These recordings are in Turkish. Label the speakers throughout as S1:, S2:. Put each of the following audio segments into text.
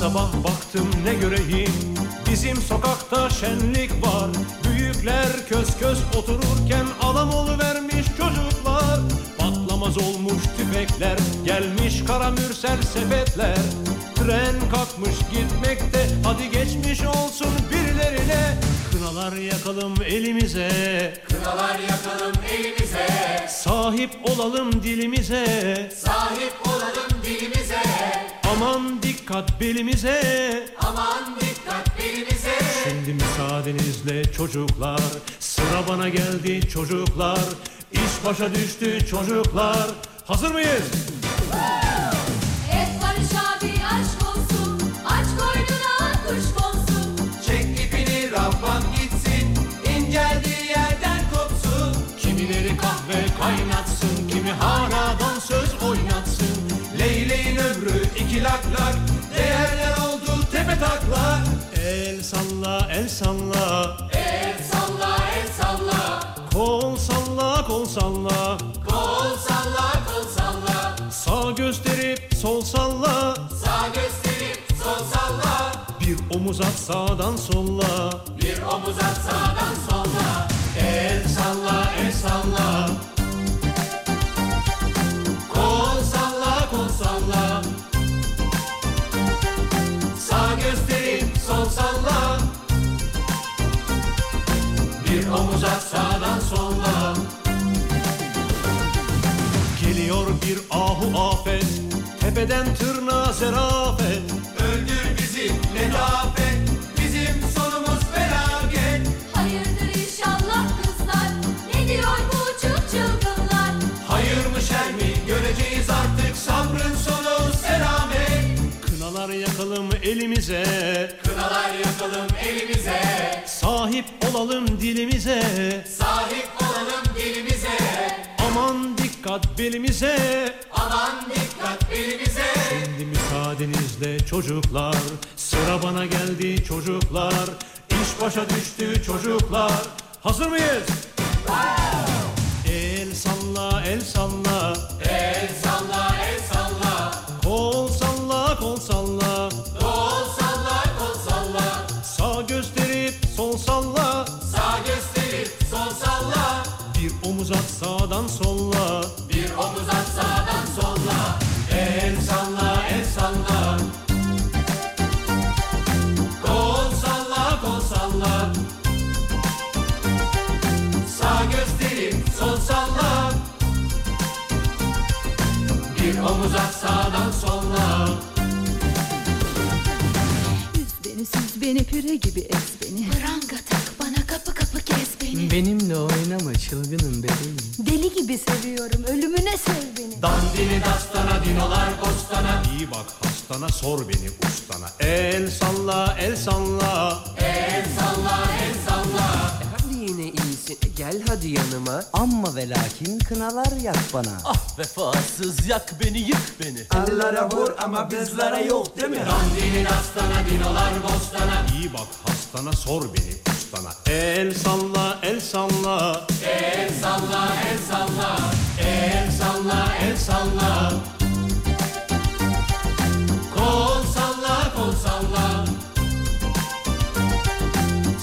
S1: sabah baktım ne göreyim Bizim sokakta şenlik var Büyükler köz köz otururken Adam vermiş çocuklar Patlamaz olmuş tüfekler Gelmiş karamürsel sepetler Tren kalkmış gitmekte Hadi geçmiş olsun birilerine Kınalar yakalım elimize
S2: Kınalar yakalım elimize,
S1: Sahip olalım dilimize
S2: sahip olalım dilimize.
S1: Aman dikkat belimize
S2: Aman dikkat belimize.
S1: Şimdi müsaadenizle çocuklar Sıra bana geldi çocuklar İş başa düştü çocuklar Hazır mıyız?
S3: Et Barış abi aşk olsun, aç koynuna kuş konsun.
S2: Çek ipini Rabbam gitsin, inceldiği yerden kopsun.
S1: Kimileri kahve kaynatsın Kimi haradan söz oynatsın
S2: Leyleğin ömrü iki lak lak, değerler oldu tepe taklak.
S1: El salla el salla
S2: El salla, el salla,
S1: Kol salla kol salla
S2: kol salla, kol salla.
S1: Sağ gösterip sol salla
S2: Sağ gösterip sol salla,
S1: Bir omuz at sağdan solla
S2: bir omuz at sağdan solla.
S1: El salla el salla
S2: Kol salla, kol salla. Sağ gösterip sol salla. Bir omuz at sağdan solla.
S1: Geliyor bir ahu afet Tepeden tırnağa zerafet
S2: Öldür bizi letafet. Bizim sonumuz felaket.
S3: Hayırdır inşallah kızlar, ne diyor bu çıl çılgınlar?
S2: Hayır mı şer mi göreceğiz artık sabrın sonu selamet.
S1: Kınalar yakalım elimize
S2: Kınalar yakalım elimize.
S1: Sahip olalım dilimize
S2: Sahip olalım dilimize.
S1: Aman dikkat belimize
S2: Aman dikkat belimize.
S1: Şimdi müsaadenizle çocuklar Sıra bana geldi çocuklar İş başa düştü çocuklar Hazır mıyız? El salla el salla
S2: El salla, el salla.
S1: Kol salla kol salla
S2: Kol salla, kol salla.
S1: Sağ gösterip sol salla
S2: Sağ gösterip sol salla.
S1: Bir omuz at sağdan solla
S2: Bir omuz at sağdan solla. El salla, el salla. Kol salla, kol salla. Sağ gösterip sol salla. Bir omuz at sağdan solla.
S4: Üz beni süz beni püre gibi ez beni
S5: Pranga tak bana kapı kapı kes beni
S6: Benimle oynama çılgınım bebeğim
S5: Deli gibi seviyorum ölümüne sev beni
S2: Dandini dastana, dinolar bostana.
S1: İyi bak hastana sor beni ustana El salla el salla
S6: E Hadi yine iyisin E gel hadi yanıma
S7: Amma ve lakin kınalar yak bana.
S8: Vefasız yak beni yık beni
S7: Allara vur ama bizlere yok değil mi?
S2: Dandini dastana, dinolar bostana.
S1: İyi bak hastana sor beni ustana El salla el salla
S2: El salla, el salla, el salla, el salla. Kol salla, kol salla.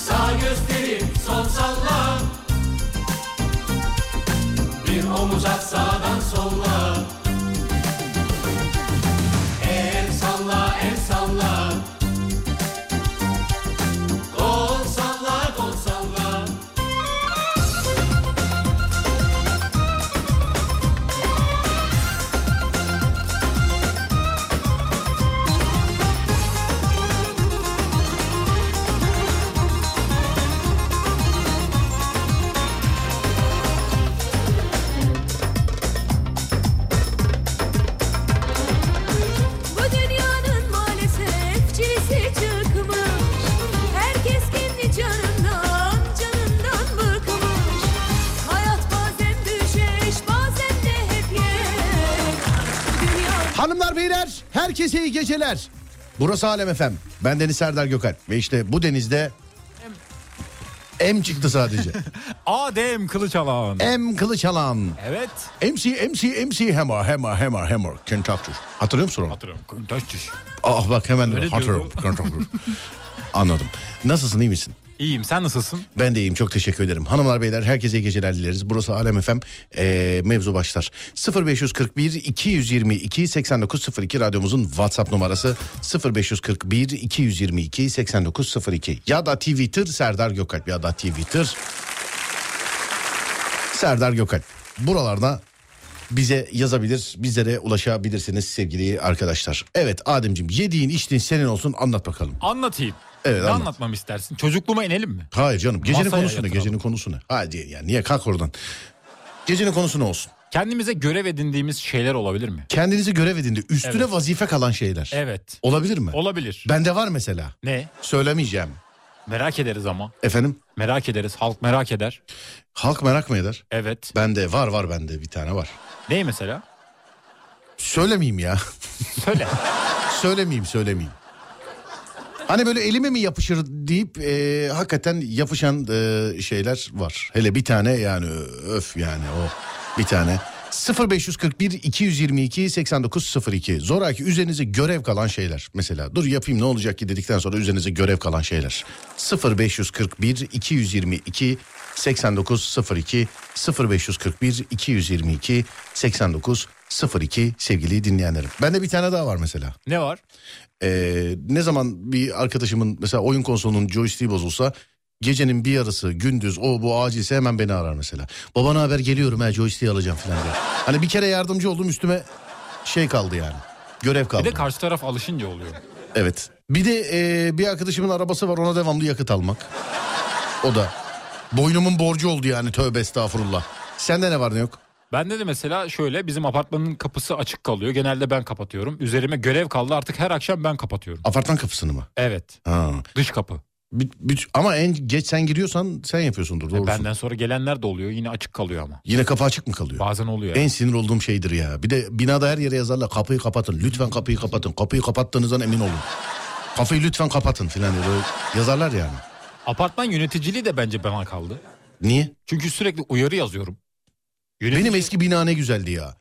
S2: Sağ gösterip sol salla. Bir omuz at sağdan solla. El salla, el salla. Kol salla, kol salla.
S3: Bu dünyanın maalesef çilesi çıkmış. Herkes kendi canından, canından bıkmış. Hayat bazen düşeş, bazen de hep yek. Bu dünya
S9: Hanımlar beyler herkese iyi geceler. Burası Alem Efem. Ben Deniz Serdar Gökalp ve işte bu denizde M çıktı sadece.
S10: Adem Kılıçalan.
S9: M kılıç alan.
S10: Evet.
S9: MC MC MC Hammer Hammer Hammer Hammer Kentucky. Hatırlıyor musun onu?
S10: Hatırlıyorum. Kılıçalan.
S9: Ah bak hemen
S10: Öyle
S9: hatırlıyorum. Kentucky. Anladım. Nasılsın iyi misin?
S10: İyiyim sen nasılsın?
S9: Ben de iyiyim çok teşekkür ederim. Hanımlar beyler herkese iyi geceler dileriz. Burası Alem FM Ee, mevzu başlar. 0541 222 8902 radyomuzun WhatsApp numarası 0541 222 8902 ya da Twitter Serdar Gökalp ya da Twitter Serdar Gökalp. Buralarda bize yazabilir, bizlere ulaşabilirsiniz sevgili arkadaşlar. Evet Ademciğim yediğin içtiğin senin olsun anlat bakalım.
S10: Anlatayım.
S9: Evet,
S10: ne
S9: anlat.
S10: anlatmamı istersin? Çocukluğuma inelim mi?
S9: Hayır canım gecenin
S10: Masaya
S9: konusu ne?
S10: yatıralım.
S9: Gecenin konusu ne? Hadi yani niye kalk oradan. Gecenin konusu ne olsun?
S10: Kendimize görev edindiğimiz şeyler olabilir mi?
S9: Kendinizi görev edindi. Üstüne
S10: Evet.
S9: vazife kalan şeyler.
S10: Evet.
S9: Olabilir mi?
S10: Olabilir.
S9: Bende var mesela.
S10: Ne?
S9: Söylemeyeceğim.
S10: Merak ederiz ama.
S9: Efendim?
S10: Merak ederiz. Halk merak eder.
S9: Halk merak mı eder?
S10: Evet.
S9: Bende var var bende bir tane var.
S10: Ney mesela?
S9: Söylemeyeyim ya.
S10: Söyle.
S9: söylemeyeyim söylemeyeyim. Hani böyle elime mi yapışır deyip e, hakikaten yapışan e, şeyler var. Hele bir tane yani öf yani o bir tane. 0541 222 8902 zoraki üzerinize görev kalan şeyler mesela dur yapayım ne olacak ki dedikten sonra üzerinize görev kalan şeyler 0541 222 8902 0541 222 8902 sevgili dinleyenlerim. Bende bir tane daha var mesela.
S10: ne var?
S9: Ee, ne zaman bir arkadaşımın mesela oyun konsolunun joystick'i bozulsa gecenin bir yarısı gündüz o bu acilse hemen beni arar mesela. Babana haber geliyorum ha joystick'i alacağım falan diye. Hani bir kere yardımcı oldum üstüme şey kaldı yani. Görev
S10: Bir
S9: kaldı.
S10: de karşı taraf alışınca oluyor.
S9: evet. Bir de e, bir arkadaşımın arabası var ona devamlı yakıt almak. O da boynumun borcu oldu yani tövbe estağfurullah. Sende ne var ne yok?
S10: Bende de mesela şöyle bizim apartmanın kapısı açık kalıyor. Genelde ben kapatıyorum. Üzerime görev kaldı artık her akşam ben kapatıyorum.
S9: Apartman kapısını mı?
S10: Evet.
S9: Ha.
S10: Dış kapı.
S9: Bir- bir- ama en geç sen giriyorsan sen yapıyorsundur doğrusu.
S10: E, Benden sonra gelenler de oluyor. Yine açık kalıyor ama.
S9: Yine kafa açık mı kalıyor?
S10: Bazen oluyor.
S9: En sinir olduğum şeydir ya. Bir de binada her yere yazarlar kapıyı kapatın. Lütfen kapıyı kapatın. Kapıyı kapattığınızdan emin olun. Kafayı lütfen kapatın filan diye böyle yazarlar yani.
S10: Apartman yöneticiliği de bence bana kaldı.
S9: Niye?
S10: Çünkü sürekli uyarı yazıyorum. Yönetici-
S9: Benim eski bina ne güzeldi ya.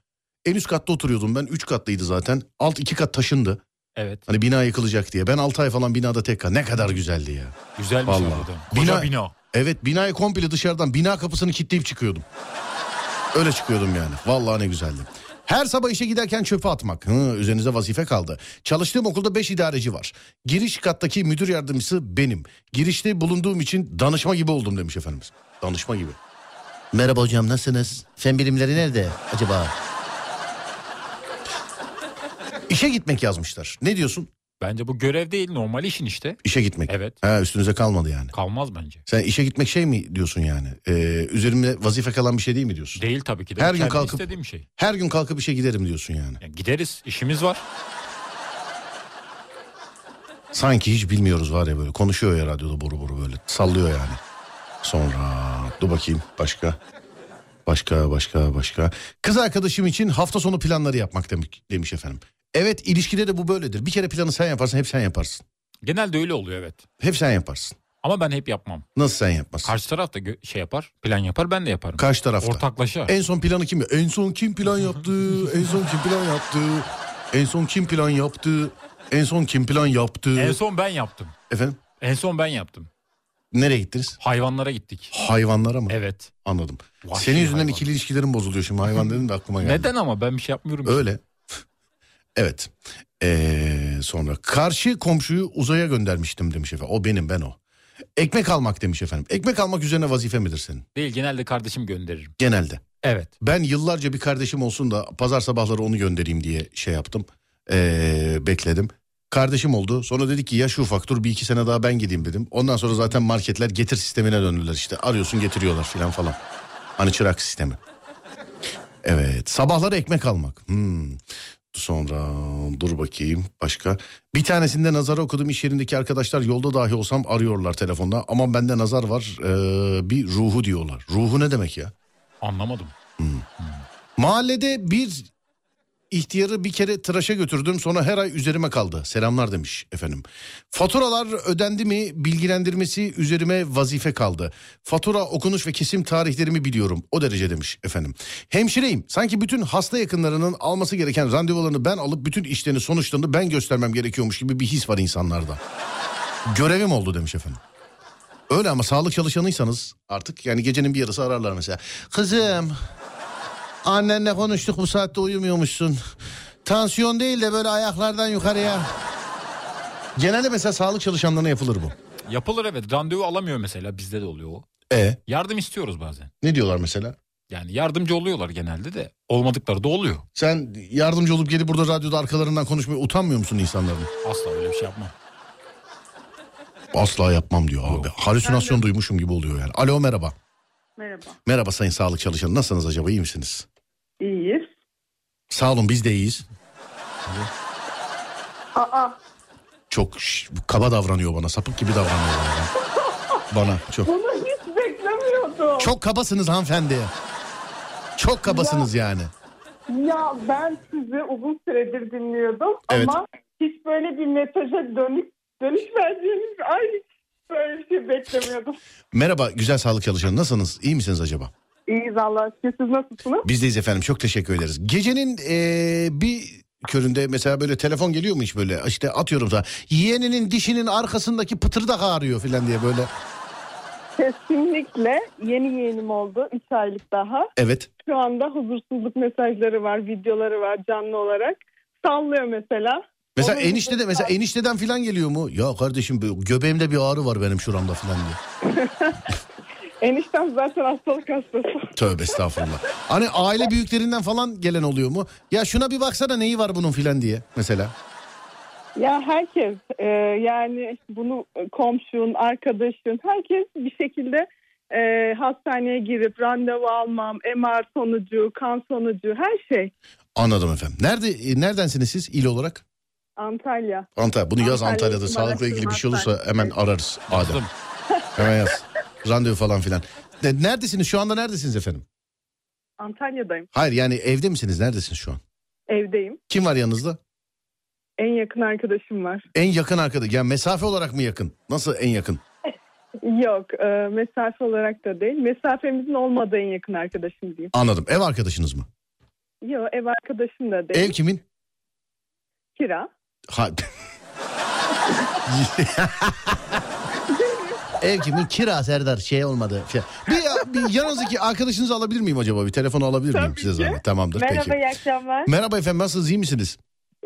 S9: En üst katta oturuyordum ben. Üç katlıydı zaten. Alt iki kat taşındı.
S10: Evet.
S9: Hani bina yıkılacak diye. Ben altı ay falan binada tek kal. Ne kadar güzeldi ya.
S10: Güzelmiş
S9: Vallahi.
S10: harbiden. Koca
S9: Bina-
S10: bina.
S9: Evet binayı komple dışarıdan bina kapısını kilitleyip çıkıyordum. Öyle çıkıyordum yani. Vallahi ne güzeldi. Her sabah işe giderken çöpe atmak. Hı, üzerinize vazife kaldı. Çalıştığım okulda 5 idareci var. Giriş kattaki müdür yardımcısı benim. Girişte bulunduğum için danışma gibi oldum demiş efendimiz. Danışma gibi. Merhaba hocam nasılsınız? Fen bilimleri nerede acaba? İşe gitmek yazmışlar. Ne diyorsun?
S10: Bence bu görev değil normal işin işte.
S9: İşe gitmek.
S10: Evet.
S9: Ha, üstünüze kalmadı yani.
S10: Kalmaz bence.
S9: Sen işe gitmek şey mi diyorsun yani? Ee, üzerimde vazife kalan bir şey değil mi diyorsun?
S10: Değil tabii ki de.
S9: Her gün
S10: Kendi
S9: kalkıp-
S10: istediğim şey.
S9: Her gün kalkıp işe giderim diyorsun yani.
S10: Yani gideriz işimiz var.
S9: Sanki hiç bilmiyoruz var ya böyle. Konuşuyor ya radyoda boru boru böyle. Sallıyor yani. Sonra dur bakayım başka. Başka başka başka. Kız arkadaşım için hafta sonu planları yapmak demek, demiş efendim. Evet ilişkide de bu böyledir. Bir kere planı sen yaparsın hep sen yaparsın.
S10: Genelde öyle oluyor evet.
S9: Hep sen yaparsın.
S10: Ama ben hep yapmam.
S9: Nasıl sen yapmazsın?
S10: Karşı taraf da gö- şey yapar, plan yapar, ben de yaparım.
S9: Karşı tarafta.
S10: Ortaklaşa.
S9: En son planı kim? En son kim plan yaptı? En son kim plan yaptı? En son kim plan yaptı? En son kim plan yaptı?
S10: En son ben yaptım.
S9: Efendim?
S10: En son ben yaptım.
S9: Nereye gittiniz?
S10: Hayvanlara gittik.
S9: Hayvanlara mı?
S10: Evet.
S9: Anladım.
S10: Vahşi
S9: Senin yüzünden
S10: hayvan.
S9: ikili ilişkilerim bozuluyor şimdi hayvan dedim de aklıma geldi.
S10: Neden ama ben bir şey yapmıyorum. ki.
S9: Öyle. evet. Ee, sonra karşı komşuyu uzaya göndermiştim demiş efendim. O benim ben o. Ekmek almak demiş efendim. Ekmek almak üzerine vazife midir senin?
S10: Değil genelde kardeşim gönderirim.
S9: Genelde.
S10: Evet.
S9: Ben yıllarca bir kardeşim olsun da pazar sabahları onu göndereyim diye şey yaptım. Ee, bekledim. Kardeşim oldu. Sonra dedi ki yaş ufak dur bir iki sene daha ben gideyim dedim. Ondan sonra zaten marketler getir sistemine döndüler işte. Arıyorsun getiriyorlar filan falan. Hani çırak sistemi. Evet sabahları ekmek almak. Hmm. Sonra dur bakayım başka. Bir tanesinde nazara okudum iş yerindeki arkadaşlar yolda dahi olsam arıyorlar telefonda. Aman bende nazar var ee, bir ruhu diyorlar. Ruhu ne demek ya?
S10: Anlamadım.
S9: Mahallede bir İhtiyarı bir kere tıraşa götürdüm sonra her ay üzerime kaldı. Selamlar demiş efendim. Faturalar ödendi mi bilgilendirmesi üzerime vazife kaldı. Fatura okunuş ve kesim tarihlerimi biliyorum o derece demiş efendim. Hemşireyim sanki bütün hasta yakınlarının alması gereken randevularını ben alıp bütün işlerini sonuçlarını ben göstermem gerekiyormuş gibi bir his var insanlarda. Görevim oldu demiş efendim. Öyle ama sağlık çalışanıysanız artık yani gecenin bir yarısı ararlar mesela. Kızım annenle konuştuk bu saatte uyumuyormuşsun. Tansiyon değil de böyle ayaklardan yukarıya. Genelde mesela sağlık çalışanlarına yapılır bu.
S10: Yapılır evet. Randevu alamıyor mesela. Bizde de oluyor o.
S9: E
S10: Yardım istiyoruz bazen.
S9: ne diyorlar mesela?
S10: Yani yardımcı oluyorlar genelde de. Olmadıkları da oluyor.
S9: Sen yardımcı olup gelip burada radyoda arkalarından konuşmaya utanmıyor musun insanların?
S10: Asla öyle bir şey yapmam.
S9: Asla yapmam diyor abi. Halüsinasyon duymuşum gibi oluyor yani. Alo merhaba.
S11: Merhaba.
S9: Merhaba sayın sağlık çalışanı. Nasılsınız acaba iyi misiniz?
S11: İyiyiz.
S9: Sağ olun biz de iyiyiz.
S11: Aa,
S9: Çok ş- kaba davranıyor bana. Sapık gibi davranıyor bana. Bana çok.
S11: bunu hiç beklemiyordum.
S9: Çok kabasınız hanımefendi. Çok kabasınız yani.
S11: Ya ben sizi uzun süredir dinliyordum
S9: Evet.
S11: ama hiç böyle bir mesaja dönük dönüş verdiğiniz ay hiç böyle bir şey beklemiyordum.
S9: Merhaba güzel sağlık çalışanı nasılsınız? İyi misiniz acaba?
S11: İyiyiz Allah aşkına siz nasılsınız?
S9: Bizdeyiz efendim çok teşekkür ederiz. Gecenin eee, bir köründe mesela böyle telefon geliyor mu hiç böyle? İşte atıyorum sana yeğeninin dişinin arkasındaki pıtırdak ağrıyor falan diye böyle.
S11: Kesinlikle yeni yeğenim oldu 3 aylık daha.
S9: Evet
S11: Şu anda huzursuzluk mesajları var, videoları var canlı olarak. Sallıyor mesela.
S9: Mesela
S11: Onun
S9: enişte de
S11: videosu
S9: mesela enişteden filan geliyor mu? Ya kardeşim bu göbeğimde bir ağrı var benim şuramda filan diye.
S11: Eniştem zaten hastalık hastası.
S9: Tövbe estağfurullah. Hani aile büyüklerinden falan gelen oluyor mu? Ya şuna bir baksana neyi var bunun filan diye mesela.
S11: Ya herkes e, yani bunu komşun, arkadaşın herkes bir şekilde e, hastaneye girip randevu almam, MR sonucu, kan sonucu her şey
S9: Anladım efendim. Nerede e, neredensiniz siz il olarak?
S11: Antalya.
S9: Antalya. Bunu yaz
S11: Antalya,
S9: Antalya'da
S11: Maraş'ın
S9: sağlıkla ilgili bir şey olursa
S11: Antalya.
S9: hemen ararız Adem.
S10: Yazdım.
S9: Hemen yaz. Randevu falan filan. De- Neredesiniz şu anda neredesiniz efendim?
S11: Antalya'dayım.
S9: Hayır yani evde misiniz? Neredesiniz şu an?
S11: Evdeyim.
S9: Kim var yanınızda?
S11: En yakın arkadaşım var.
S9: En yakın arkadaş. Yani mesafe olarak mı yakın? Nasıl en yakın?
S11: Yok e, mesafe olarak da değil. Mesafemizin olmadığı en yakın arkadaşım diyeyim.
S9: Anladım. Ev arkadaşınız mı?
S11: Yok ev arkadaşım da değil.
S9: Ev kimin?
S11: Kira.
S9: Ha... Ev kimin? Kira Serdar şey olmadı. Şey- Bir, bir yanınızdaki arkadaşınızı alabilir miyim acaba? Bir telefonu alabilir miyim
S11: Tabii
S9: size
S11: ki.
S9: zahmet? Tamamdır
S12: Merhaba,
S9: peki.
S12: iyi akşamlar.
S9: Merhaba efendim nasılsınız iyi misiniz?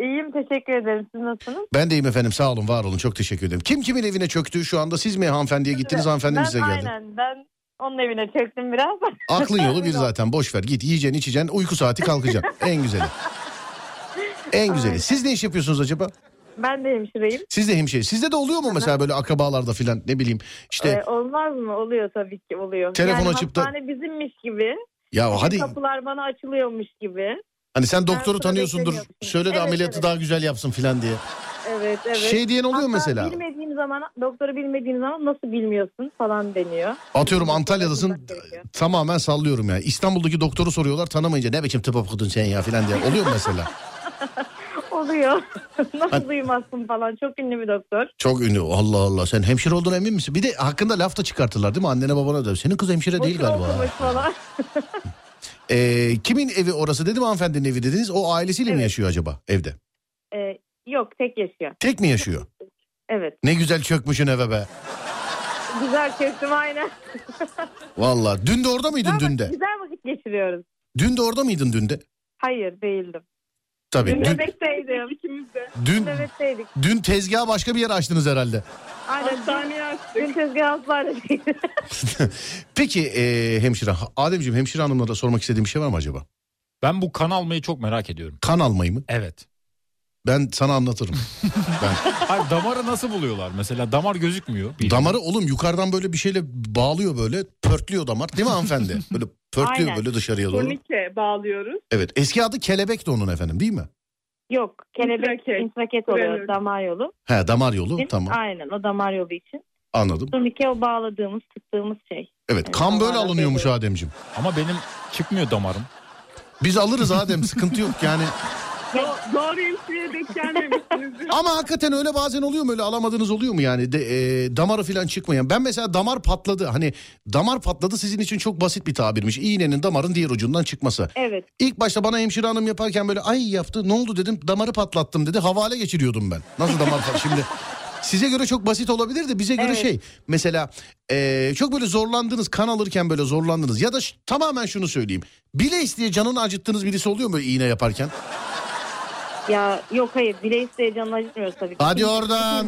S12: İyiyim, teşekkür ederim. Siz nasılsınız?
S9: Ben deyim efendim sağ olun var olun çok teşekkür ederim. Kim kimin evine çöktü şu anda siz mi hanımefendiye gittiniz hanımefendi mi
S12: ben,
S9: size geldi?
S12: Aynen, ben onun evine çöktüm biraz.
S9: Aklın yolu bir zaten boş ver git yiyeceksin içeceksin uyku saati kalkacaksın en güzeli. En güzeli. Siz ne iş yapıyorsunuz acaba?
S12: ben de hemşireyim.
S9: Siz de hemşire. Sizde de oluyor mu mesela böyle akrabalarda filan ne bileyim işte
S12: Ee, olmaz mı? Oluyor tabii ki oluyor.
S9: Telefon
S12: yani
S9: açıp da-
S12: hastane bizimmiş gibi.
S9: ya
S12: Bütün
S9: hadi
S12: Kapılar bana açılıyormuş gibi.
S9: hani sen
S12: Ben
S9: doktoru
S12: sonra
S9: tanıyorsundur
S12: bekleniyorum.
S9: söyle de
S12: Evet,
S9: ameliyatı
S12: evet.
S9: daha güzel yapsın filan diye.
S12: Evet, evet.
S9: Şey diyen oluyor
S12: Hatta
S9: mesela.
S12: bilmediğim zaman, doktoru bilmediğim zaman nasıl bilmiyorsun falan deniyor.
S9: Atıyorum Antalya'dasın tamamen sallıyorum ya. İstanbul'daki doktoru soruyorlar tanımayınca ne biçim tıp okudun sen ya filan diye. Oluyor mu mesela?
S12: Oluyor.
S9: Hadi.
S12: nasıl duymazsın falan. Çok ünlü bir doktor.
S9: Çok ünlü. Allah Allah sen hemşire olduğuna emin misin? Bir de hakkında laf da çıkartırlar değil mi? Annene babana da. Senin kız hemşire değil
S12: Boşuna
S9: galiba.
S12: okumuş falan.
S9: Ee, kimin evi orası dedim hanımefendinin evi dediniz. O ailesiyle mi yaşıyor acaba evde?
S12: Ee, yok, tek yaşıyor.
S9: Tek mi yaşıyor?
S12: Evet.
S9: Ne güzel çökmüşün eve be.
S12: Güzel kestim aynen.
S9: Valla dün de orada mıydın dün de?
S12: Güzel vakit geçiriyoruz.
S9: Dün de orada mıydın dün de?
S12: Hayır değildim.
S9: Tabii.
S12: Dün
S9: Dün,
S12: nöbetteydim. İkimiz de.
S9: Dün-
S12: nöbetteydik.
S9: dün tezgahı başka bir yer açtınız herhalde.
S12: Aynen. Hastaneye açtık. Dün tezgah hastanedeydi.
S9: Peki e, hemşire. Ademciğim hemşire hanımlara da sormak istediğim bir şey var mı acaba?
S10: Ben bu kan almayı çok merak ediyorum.
S9: Kan almayı mı?
S10: Evet.
S9: Ben sana anlatırım.
S10: Hayır, damarı nasıl buluyorlar mesela? Damar gözükmüyor. Bir-
S9: Damarı oğlum yukarıdan böyle bir şeyle bağlıyor böyle. Pörtlüyor damar değil mi hanımefendi? Böyle pörtlüyor
S12: Aynen.
S9: böyle dışarıya doğru.
S11: Turnike bağlıyoruz.
S9: Evet eski adı kelebekti onun efendim değil mi?
S12: Yok. Kelebek
S11: İntraket.
S12: intraket oluyor
S11: Krenör.
S12: damar yolu.
S9: He damar yolu
S12: Bizim-
S9: tamam
S12: Aynen o damar yolu için.
S9: anladım.
S12: Turnike o bağladığımız tıktığımız şey.
S9: Evet kan böyle
S12: damardan
S9: alınıyormuş Ademciğim.
S10: Ama benim çıkmıyor damarım.
S9: Biz alırız Adem sıkıntı yok yani.
S11: Do- doğru hemşireye denk gelmemişsiniz.
S9: Ama hakikaten öyle bazen oluyor mu öyle alamadığınız oluyor mu yani de, e, damarı falan çıkmayan. Ben mesela damar patladı hani damar patladı sizin için çok basit bir tabirmiş. İğnenin damarın diğer ucundan çıkması.
S12: Evet.
S9: İlk başta bana hemşire hanım yaparken böyle ay yaptı ne oldu dedim damarı patlattım dedi havale geçiriyordum ben. Nasıl damar pat- şimdi size göre çok basit olabilir de bize göre
S12: Evet.
S9: şey mesela e, çok böyle zorlandınız kan alırken böyle zorlandınız ya da ş- tamamen şunu söyleyeyim bile isteye canını acıttığınız birisi oluyor mu böyle iğne yaparken?
S12: Ya yok hayır bile isteye canını acıtmıyoruz tabii. ki.
S9: Hadi
S12: İkimiz-
S9: oradan.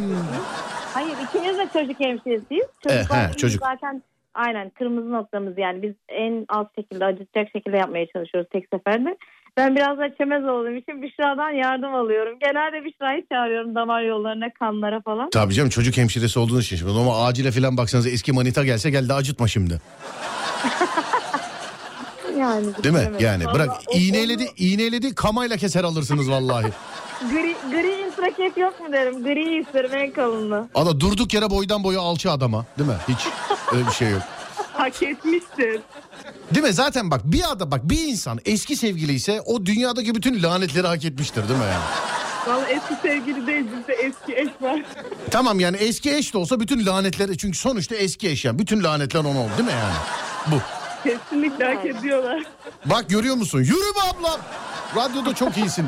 S12: Hayır ikimiz de çocuk hemşiresiyiz. Çocuklar
S9: Eh, he,
S12: bizim
S9: çocuk.
S12: Zaten aynen kırmızı noktamız yani biz en az şekilde acıtacak şekilde yapmaya çalışıyoruz tek seferde. Ben biraz da çemez olduğum için Büşra'dan yardım alıyorum. Genelde Büşra'yı çağırıyorum damar yollarına, kanlara falan.
S9: Tabii canım çocuk hemşiresi olduğunuz için şimdi ama acile falan baksanız eski manita gelse gel de acıtma şimdi.
S12: Yani
S9: Değil mi?
S12: bilemedim.
S9: Yani bırak
S12: Vallahi o-
S9: iğneyledi iğneyledi kamayla keser alırsınız vallahi.
S12: Gri, gri intraket yok mu derim. Gri isterim en kalınlığı.
S9: Ada durduk yere boydan boya alçı adama değil mi? Hiç öyle bir şey yok.
S11: Hak etmiştir.
S9: Değil mi? Zaten bak bir ada bak bir insan eski sevgiliyse o dünyadaki bütün lanetleri hak etmiştir değil mi yani?
S11: Valla eski sevgili değil bizde eski eş var.
S9: Tamam yani eski eş de olsa bütün lanetleri çünkü sonuçta eski eş yani bütün lanetler ona oldu değil mi yani? Bu.
S11: Kesinlikle hak ediyorlar.
S9: Bak görüyor musun? Yürü be ablam. Radyoda çok iyisin.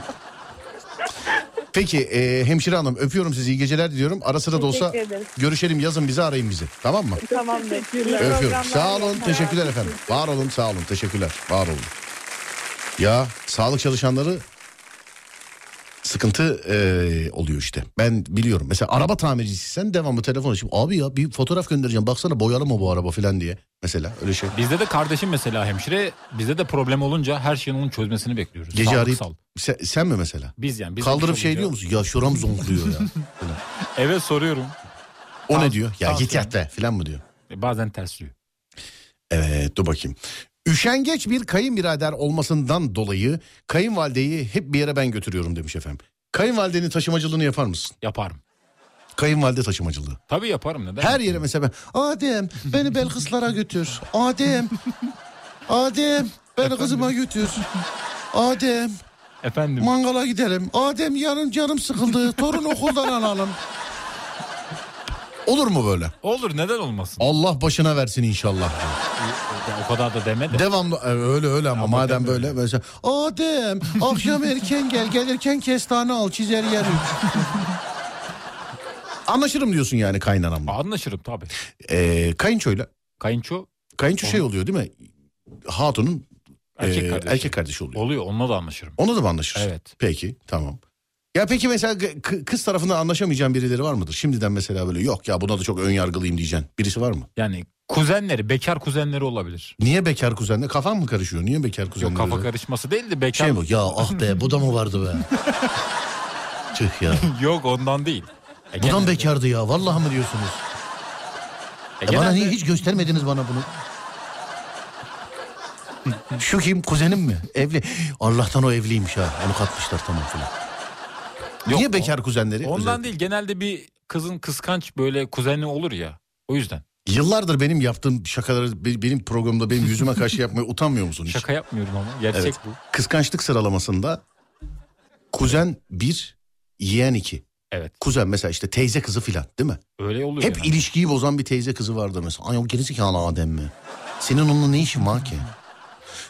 S9: Peki e, hemşire hanım öpüyorum sizi iyi geceler diliyorum. Ara sıra da olsa
S12: Teşekkür ederiz.
S9: görüşelim yazın bizi arayın bizi tamam mı?
S12: Tamam teşekkürler.
S9: Öpüyorum. Sağ olun. Teşekkürler efendim. Var olun. Sağ olun. Teşekkürler. Var olun. Ya sağlık çalışanları sıkıntı eee, oluyor işte. Ben biliyorum. Mesela araba tamircisiysen devamlı telefon açıp abi ya bir fotoğraf göndereceğim. Baksana boyalı mı bu araba falan diye. Mesela öyle şey.
S10: Bizde de kardeşim mesela hemşire bizde de problem olunca her şeyin onun çözmesini bekliyoruz.
S9: Gece
S10: Sağlık
S9: arayıp
S10: sal.
S9: sen, sen mi mesela?
S10: Biz yani. Biz
S9: Kaldırıp şey diyor musun? Ya şuram zonkluyor ya.
S10: evet soruyorum.
S9: O ne
S10: Tans-
S9: diyor? Ya git
S10: tansiyon.
S9: yat be falan mı diyor?
S10: E, Bazen tersliyor.
S9: Evet dur bakayım. Üşengeç bir kayınbirader olmasından dolayı kayınvalideyi hep bir yere ben götürüyorum demiş efendim. Kayınvalidenin taşımacılığını yapar mısın?
S10: Yaparım.
S9: Kayınvalide taşımacılığı.
S10: Tabii yaparım neden?
S9: Her yere mesela ben Adem beni Belkıslara götür. Adem. Adem beni kızıma götür. Adem
S10: Efendim.
S9: mangala gidelim. Adem yarın canım sıkıldı. Torun okuldan alalım. Olur mu böyle?
S10: Olur neden olmasın?
S9: Allah başına versin inşallah.
S10: Ya, o kadar da deme de.
S9: Devamlı e, öyle öyle ama madem böyle mesela Adem akşam erken gel gelirken kestane al çizer yer üç." Anlaşırım diyorsun yani kaynanamla.
S10: Anlaşırım tabii.
S9: Ee, kayınçoyla.
S10: Kayınço.
S9: Kayınço şey oluyor değil mi? Hatunun
S10: Erkek
S9: e,
S10: kardeşi.
S9: erkek kardeşi oluyor.
S10: Oluyor onunla da anlaşırım.
S9: Ona da mı anlaşırsın?
S10: Evet.
S9: Peki tamam. Ya peki mesela kı- kız tarafından anlaşamayacağın birileri var mıdır? Şimdiden mesela böyle yok ya buna da çok ön yargılıyım diyeceksin. Birisi var mı?
S10: Yani kuzenleri, bekar kuzenleri olabilir.
S9: Niye bekar kuzenle? Kafan mı karışıyor? Niye bekar kuzenle?
S10: Yok kafa karışması değil de bekar.
S9: Şey mi? Ya ah be bu da mı vardı be? Tüh ya.
S10: Yok ondan değil.
S9: Bu
S10: E,
S9: da mı
S10: genelde-
S9: bekardı ya? Vallahi mı diyorsunuz?
S10: e,
S9: E bana
S10: genelde-
S9: niye hiç göstermediniz bana bunu? Şu kim? Kuzenim mi? Evli. Allah'tan o evliymiş ha. Onu katmışlar tamam filan.
S10: Yok,
S9: niye
S10: o-
S9: bekar kuzenleri?
S10: Ondan
S9: Özellikle.
S10: değil genelde bir kızın kıskanç böyle kuzeni olur ya. O yüzden.
S9: Yıllardır benim yaptığım şakaları be- benim programda benim yüzüme karşı yapmaya utanmıyor musun hiç?
S10: Şaka yapmıyorum ama gerçek
S9: Evet.
S10: bu.
S9: Kıskançlık sıralamasında kuzen bir, yeğen iki.
S10: Evet.
S9: Kuzen mesela işte teyze kızı filan değil mi?
S10: Öyle oluyor.
S9: Hep
S10: yani.
S9: ilişkiyi bozan bir teyze kızı vardı mesela. Ay o gerizekalı Adem mi? Senin onunla ne işin var ki?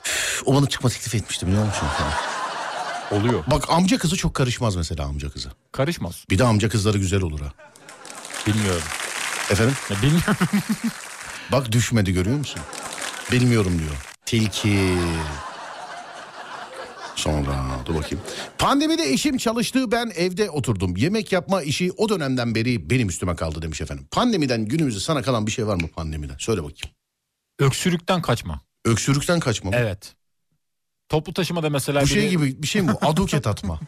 S9: Üf, o bana çıkma teklif etmişti biliyor musun? Falan.
S10: Oluyor.
S9: Bak amca kızı çok karışmaz mesela amca kızı.
S10: Karışmaz.
S9: Bir de amca kızları güzel olur ha.
S10: Bilmiyorum.
S9: Efendim?
S10: Ya bilmiyorum.
S9: Bak düşmedi görüyor musun? Bilmiyorum diyor. Tilki. Sonra dur bakayım. Pandemide eşim çalıştı ben evde oturdum. Yemek yapma işi o dönemden beri benim üstüme kaldı demiş efendim. Pandemiden günümüzde sana kalan bir şey var mı pandemiden? Söyle bakayım.
S10: Öksürükten kaçma.
S9: Öksürükten kaçma mı?
S10: Evet. Toplu taşımada mesela
S9: Bu
S10: biri-
S9: şey gibi bir şey mi? bu? Aduket atma.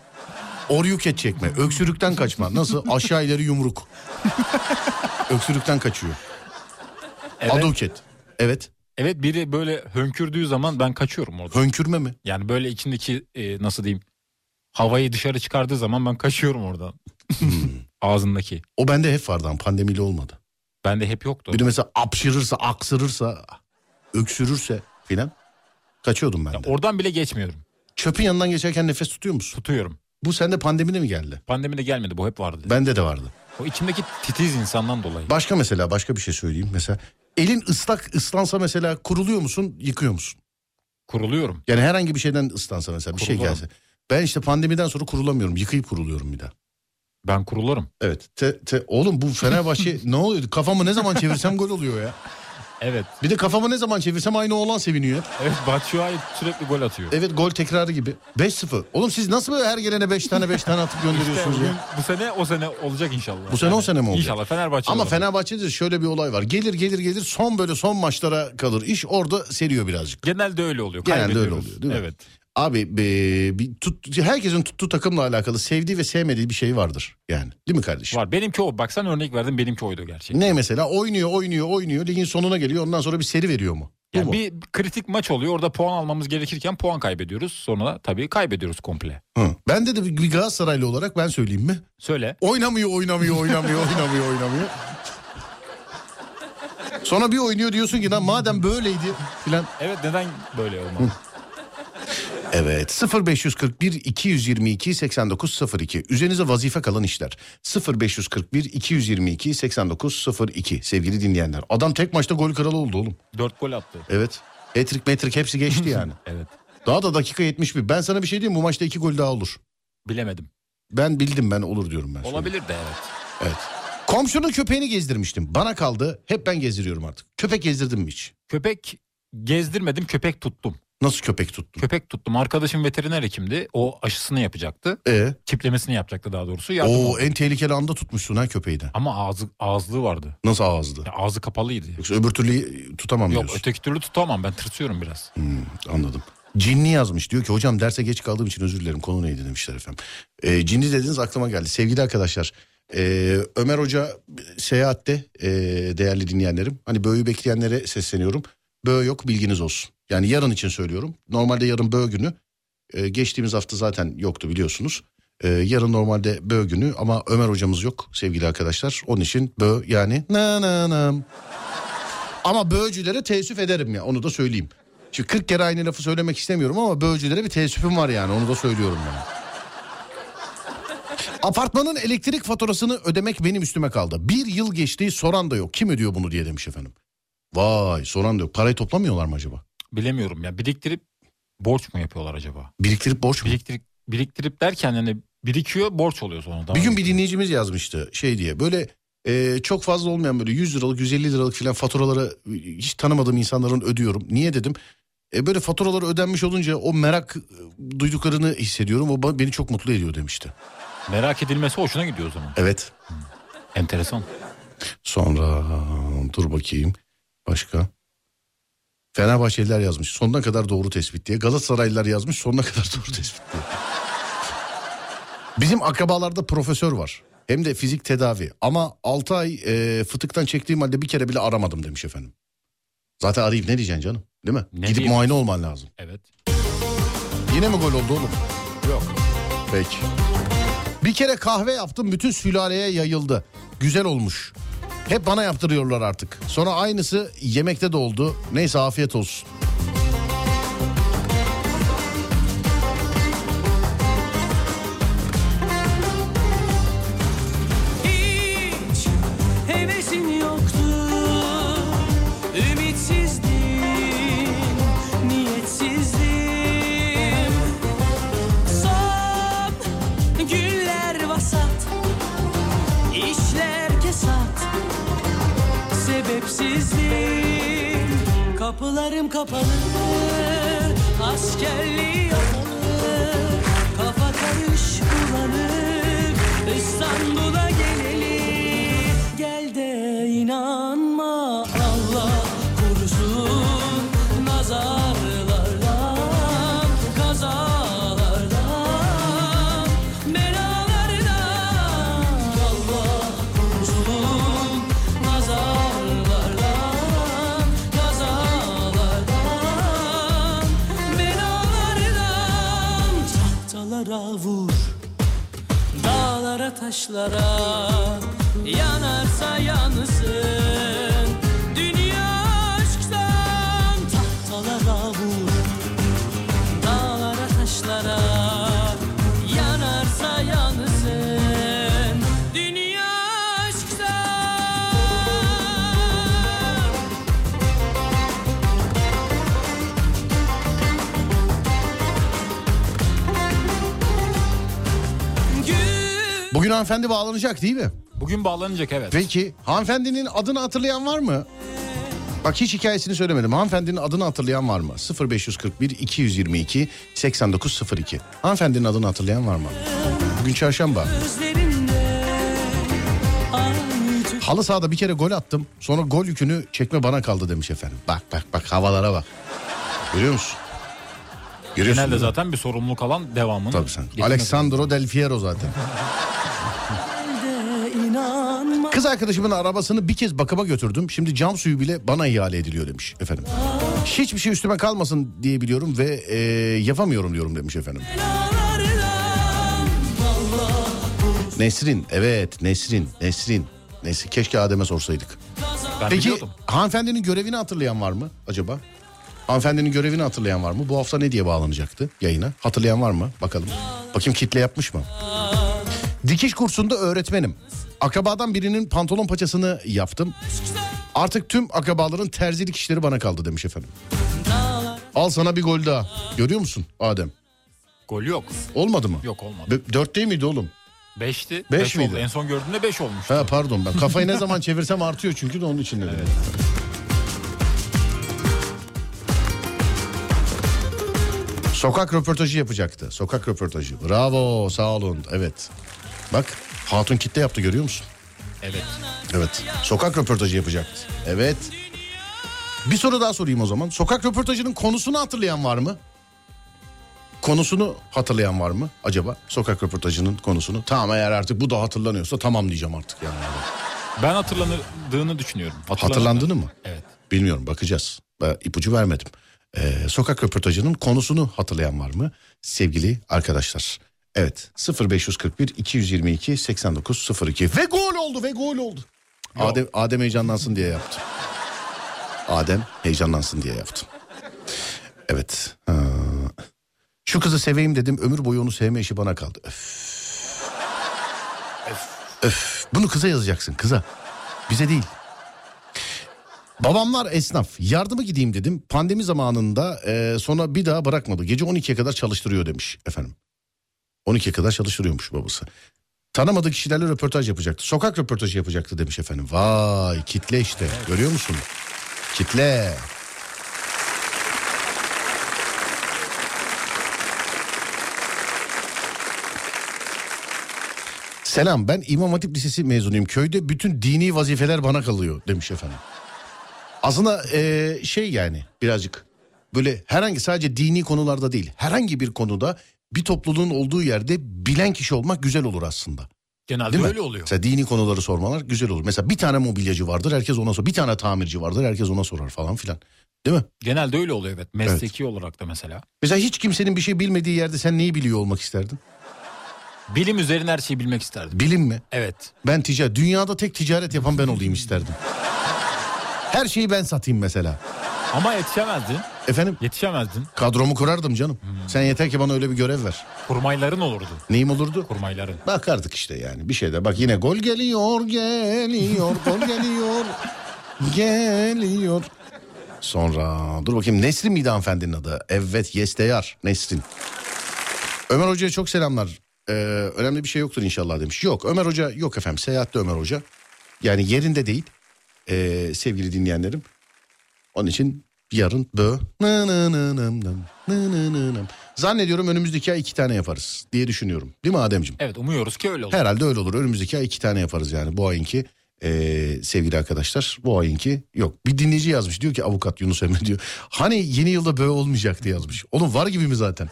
S9: Oryuket çekme. Öksürükten kaçma. Nasıl? Aşağı ileri yumruk. Öksürükten kaçıyor.
S10: Evet.
S9: Aduket. Evet.
S10: Evet biri böyle hönkürdüğü zaman ben kaçıyorum orada.
S9: Hönkürme mi?
S10: Yani böyle içindeki e, nasıl diyeyim havayı dışarı çıkardığı zaman ben kaçıyorum oradan. Ağzındaki.
S9: Hmm. O bende hep vardı ama pandemiyle olmadı.
S10: Bende hep yoktu.
S9: Bir de mesela apşırırsa, aksırırsa, öksürürse filan kaçıyordum ben de.
S10: Oradan bile geçmiyorum.
S9: Çöpün yanından geçerken nefes tutuyor musun?
S10: Tutuyorum.
S9: Bu sende pandemide mi geldi?
S10: Pandemide gelmedi bu hep vardı.
S9: Bende de vardı.
S10: O içimdeki titiz insandan dolayı.
S9: Başka mesela başka bir şey söyleyeyim. Mesela elin ıslak ıslansa mesela kuruluyor musun yıkıyor musun?
S10: Kuruluyorum.
S9: Yani herhangi bir şeyden ıslansa mesela bir şey
S10: Kurulurum.
S9: gelse. Ben işte pandemiden sonra kurulamıyorum. Yıkayıp kuruluyorum bir daha.
S10: Ben kurulurum.
S9: Evet. Te, te- oğlum bu Fenerbahçe ne oluyor? Kafamı ne zaman çevirsem gol oluyor ya.
S10: Evet.
S9: Bir de kafamı ne zaman çevirsem aynı oğlan seviniyor.
S10: Evet Batshuayi sürekli gol atıyor.
S9: Evet gol tekrarı gibi. 5-0. Oğlum siz nasıl böyle her gelene 5 tane 5 tane atıp gönderiyorsunuz
S10: İşte
S9: ya?
S10: bu- Bu sene o sene olacak inşallah.
S9: Bu sene o
S10: Yani
S9: sene mi olacak?
S10: İnşallah Fenerbahçe.
S9: Ama
S10: olur.
S9: Fenerbahçe'de şöyle bir olay var. Gelir gelir gelir son böyle son maçlara kalır. İş orada seriyor birazcık.
S10: Genelde öyle oluyor.
S9: Genelde öyle
S10: Kaybediyoruz.
S9: oluyor değil mi?
S10: Evet.
S9: Abi e, bir tut, herkesin tuttuğu takımla alakalı sevdiği ve sevmediği bir şey vardır yani. Değil mi kardeşim?
S10: Var. Benimki o. Bak sen örnek verdin benimki oydu gerçekten.
S9: Ne mesela oynuyor oynuyor oynuyor ligin sonuna geliyor ondan sonra bir seri veriyor mu? Bu
S10: Yani
S9: mu?
S10: bir kritik maç oluyor. Orada puan almamız gerekirken puan kaybediyoruz. Sonra da tabii kaybediyoruz komple.
S9: Hı. Bende de bir Galatasaraylı olarak ben söyleyeyim mi?
S10: Söyle.
S9: Oynamıyor oynamıyor oynamıyor oynamıyor oynamıyor. Sonra bir oynuyor diyorsun ki lan madem böyleydi filan.
S10: Evet neden böyle olmadı?
S9: Evet 0541 222 8902 üzerinize vazife kalan işler 0541 222 8902 sevgili dinleyenler adam tek maçta gol kralı oldu oğlum
S10: Dört gol attı.
S9: evet etrik metrik hepsi geçti yani
S10: Evet.
S9: daha da dakika 71 ben sana bir şey diyeyim mi? bu maçta iki gol daha olur
S10: Bilemedim.
S9: ben bildim ben olur diyorum ben
S10: Olabilir de evet.
S9: evet komşunun köpeğini gezdirmiştim bana kaldı hep ben gezdiriyorum artık köpek gezdirdim mi hiç
S10: Köpek gezdirmedim köpek tuttum.
S9: nasıl köpek tuttum
S10: Köpek tuttum. Arkadaşım veteriner hekimdi. O aşısını yapacaktı.
S9: e
S10: Tiplemesini yapacaktı daha doğrusu. Yardım
S9: o
S10: oldu.
S9: en tehlikeli anda tutmuşsun ha köpeği de
S10: Ama ağzı, ağızlığı vardı.
S9: nasıl ağızdı
S10: Ya ağzı kapalıydı.
S9: yoksa öbür türlü tutamam
S10: Yok
S9: diyorsun Hmm,
S10: öteki türlü tutamam ben tırsıyorum biraz.
S9: Anladım. Cinni yazmış. Diyor ki hocam derse geç kaldığım için özür dilerim. Konu neydi demişler efendim. Ee, cinni dediniz aklıma geldi. Sevgili arkadaşlar ee, Ömer Hoca seyahatte ee, değerli dinleyenlerim. Hani böğü bekleyenlere sesleniyorum. Böğü yok bilginiz olsun. Yani yarın için söylüyorum. Normalde yarın böğü günü. Ee, geçtiğimiz hafta zaten yoktu biliyorsunuz. Ee, yarın normalde böğü günü ama Ömer hocamız yok sevgili arkadaşlar. Onun için böğü yani na na nam. Ama böğcülere teessüf ederim ya onu da söyleyeyim. Şimdi 40 kere aynı lafı söylemek istemiyorum ama böğcülere bir teessüfüm var yani onu da söylüyorum yani. Apartmanın elektrik faturasını ödemek benim üstüme kaldı. Bir yıl geçti soran da yok. Kim ödüyor bunu diye demiş efendim. Vay soran da yok. Parayı toplamıyorlar mı acaba?
S10: Bilemiyorum ya biriktirip borç mu yapıyorlar acaba?
S9: Biriktirip borç mu?
S10: Biriktirip, biriktirip derken yani birikiyor borç oluyor sonra. Daha
S9: bir gün bir dinleyicimiz yazmıştı şey diye böyle e, çok fazla olmayan böyle 100 liralık 150 liralık filan faturaları e, hiç tanımadığım insanların ödüyorum. Niye dedim? E, böyle faturaları ödenmiş olunca o merak e, duyduklarını hissediyorum. O ba- beni çok mutlu ediyor demişti.
S10: Merak edilmesi hoşuna gidiyor o zaman.
S9: Evet.
S10: Enteresan.
S9: Sonra dur bakayım başka. Fenerbahçeliler yazmış sonuna kadar doğru tespit diye. Galatasaraylılar yazmış sonuna kadar doğru tespit diye. Bizim akrabalarda profesör var. Hem de fizik tedavi. Ama 6 ay e, fıtıktan çektiğim halde bir kere bile aramadım demiş efendim. Zaten arayıp ne diyeceksin canım? Değil mi? Gidip
S10: diyeyim?
S9: muayene olman lazım.
S10: Evet.
S9: Yine mi gol oldu oğlum?
S10: Yok.
S9: Peki. Bir kere kahve yaptım bütün sülaleye yayıldı. Güzel olmuş. Hep bana yaptırıyorlar artık. Sonra aynısı yemekte de oldu. Neyse afiyet olsun.
S6: Hiç hevesin yoktu Ümitsizdim Niyetsizdim Son günler vasat işler kesat Sebepsizdim Kapılarım kapalı Askerliği yapalı Kafa karış bulanık İstanbul'a gelelim Gel de inanma Allah korusun Nazarlardan, kazalardan Belalardan Allah korusun Nazarlardan, kazalardan Belalardan Tahtalara vur Dağlara taşlara yanarsa yansın Dünya aşktan tahtalara vur Dağlara taşlara yanarsa
S9: Bugün hanımefendi bağlanacak değil mi?
S10: Bugün bağlanacak evet.
S9: Peki hanımefendinin adını hatırlayan var mı? Bak hiç hikayesini söylemedim. Hanımefendinin adını hatırlayan var mı? 0541 222 8902. Hanımefendinin adını hatırlayan var mı? Bugün çarşamba.
S13: Gözlerimde aynı tüp
S9: Halı sahada bir kere gol attım. Sonra gol yükünü çekme bana kaldı demiş efendim. Bak bak bak havalara bak. Görüyor musun? Görüyorsun
S10: Genelde
S9: değil mi?
S10: zaten bir sorumluluk alan devamını. Tabii sen.
S9: Alexandro Del Fiero zaten.
S13: de inanma
S9: Kız arkadaşımın arabasını bir kez bakıma götürdüm. Şimdi cam suyu bile bana ihale ediliyor demiş efendim. Hiçbir şey üstüme kalmasın diye biliyorum ve e, yapamıyorum diyorum demiş efendim. Nesrin evet Nesrin Nesrin. Nesrin keşke Adem'e sorsaydık.
S10: Ben
S9: Peki
S10: biliyordum.
S9: hanımefendinin görevini hatırlayan var mı acaba? Hanımefendinin görevini hatırlayan var mı? Bu hafta ne diye bağlanacaktı yayına? Hatırlayan var mı? Bakalım. Bakayım kitle yapmış mı? Dikiş kursunda öğretmenim. Akrabadan birinin pantolon paçasını yaptım. Artık tüm akrabaların terzilik işleri bana kaldı demiş efendim. Al sana bir gol daha. Görüyor musun Adem?
S10: Gol yok.
S9: Olmadı mı?
S10: Yok olmadı.
S9: Be- Dört değil miydi oğlum?
S10: Beşti.
S9: Beş
S10: Beş
S9: miydi?
S10: oldu. En son gördüğümde beş olmuş.
S9: Ha pardon ben kafayı ne zaman çevirsem artıyor çünkü de onun için dedim. Sokak röportajı yapacaktı. Sokak röportajı. Bravo sağ olun. Evet. Bak hatun kitle yaptı görüyor musun?
S10: Evet.
S9: Evet. Sokak röportajı yapacaktı. Evet. Bir soru daha sorayım o zaman. Sokak röportajının konusunu hatırlayan var mı? Konusunu hatırlayan var mı acaba? Sokak röportajının konusunu. Tamam eğer artık bu da hatırlanıyorsa tamam diyeceğim artık yani.
S10: Ben hatırlandığını düşünüyorum. Hatırlandığını-
S9: Hatırlandığını mı?
S10: Evet.
S9: Bilmiyorum bakacağız. Ben ipucu vermedim. Ee, sokak röportajının konusunu hatırlayan var mı sevgili arkadaşlar? Evet 0541 222 8902 ve gol oldu ve gol oldu. Adem, Adem heyecanlansın diye yaptım. Adem heyecanlansın diye yaptım. Evet. ha. Şu kızı seveyim dedim ömür boyu onu sevme işi bana kaldı. Öf. Öf. Bunu kıza yazacaksın kıza. Bize değil. Babamlar esnaf. Yardıma gideyim dedim. Pandemi zamanında e, sonra bir daha bırakmadı. Gece 12'ye kadar çalıştırıyor demiş efendim. 12'ye kadar çalıştırıyormuş babası. Tanımadığı kişilerle röportaj yapacaktı. Sokak röportajı yapacaktı demiş efendim. Vay kitle işte. Görüyor musun? Kitle. Selam ben İmam Hatip Lisesi mezunuyum. Köyde bütün dini vazifeler bana kalıyor demiş efendim. Aslında eee, şey yani birazcık böyle herhangi sadece dini konularda değil herhangi bir konuda bir topluluğun olduğu yerde bilen kişi olmak güzel olur aslında.
S10: Genelde
S9: Değil mi?
S10: öyle oluyor.
S9: Mesela dini konuları sormalar güzel olur. Mesela bir tane mobilyacı vardır herkes ona sorar. Bir tane tamirci vardır herkes ona sorar falan filan. Değil mi?
S10: Genelde öyle oluyor evet. Mesleki olarak da mesela.
S9: Mesela hiç kimsenin bir şey bilmediği yerde sen neyi biliyor olmak isterdin?
S10: Bilim üzerine her şeyi bilmek isterdim.
S9: Bilim mi?
S10: Evet.
S9: Ben ticaret, dünyada tek ticaret yapan ben olayım isterdim. Her şeyi ben satayım mesela.
S10: Ama yetişemezdin.
S9: Efendim?
S10: Yetişemezdin. Hmm.
S9: Kadromu kurardım canım. Sen yeter ki bana öyle bir görev ver.
S10: Kurmayların olurdu.
S9: Neyim olurdu?
S10: Kurmayların.
S9: Bakardık işte yani bir şeyde. Bak yine gol geliyor, geliyor, gol geliyor, geliyor. Sonra dur bakayım Nesrin miydi hanımefendinin adı? Evet yes deyar Nesrin. Ömer Hoca'ya çok selamlar. Ee, önemli bir şey yoktur inşallah demiş. Yok Ömer Hoca yok efendim seyahatte Ömer Hoca. Yani yerinde değil Ee, sevgili dinleyenlerim. Onun için yarın bö. Nı nı nı nı nı nı nı nı nı. Zannediyorum önümüzdeki ay iki tane yaparız diye düşünüyorum. Değil mi Ademciğim?
S10: Evet umuyoruz ki öyle olur.
S9: Herhalde öyle olur. Önümüzdeki ay iki tane yaparız yani. Bu ayınki eee, sevgili arkadaşlar. Bu ayınki yok. Bir dinleyici yazmış. Diyor ki avukat Yunus Emre diyor. Hani yeni yılda böyle olmayacaktı yazmış. Oğlum var gibi mi zaten?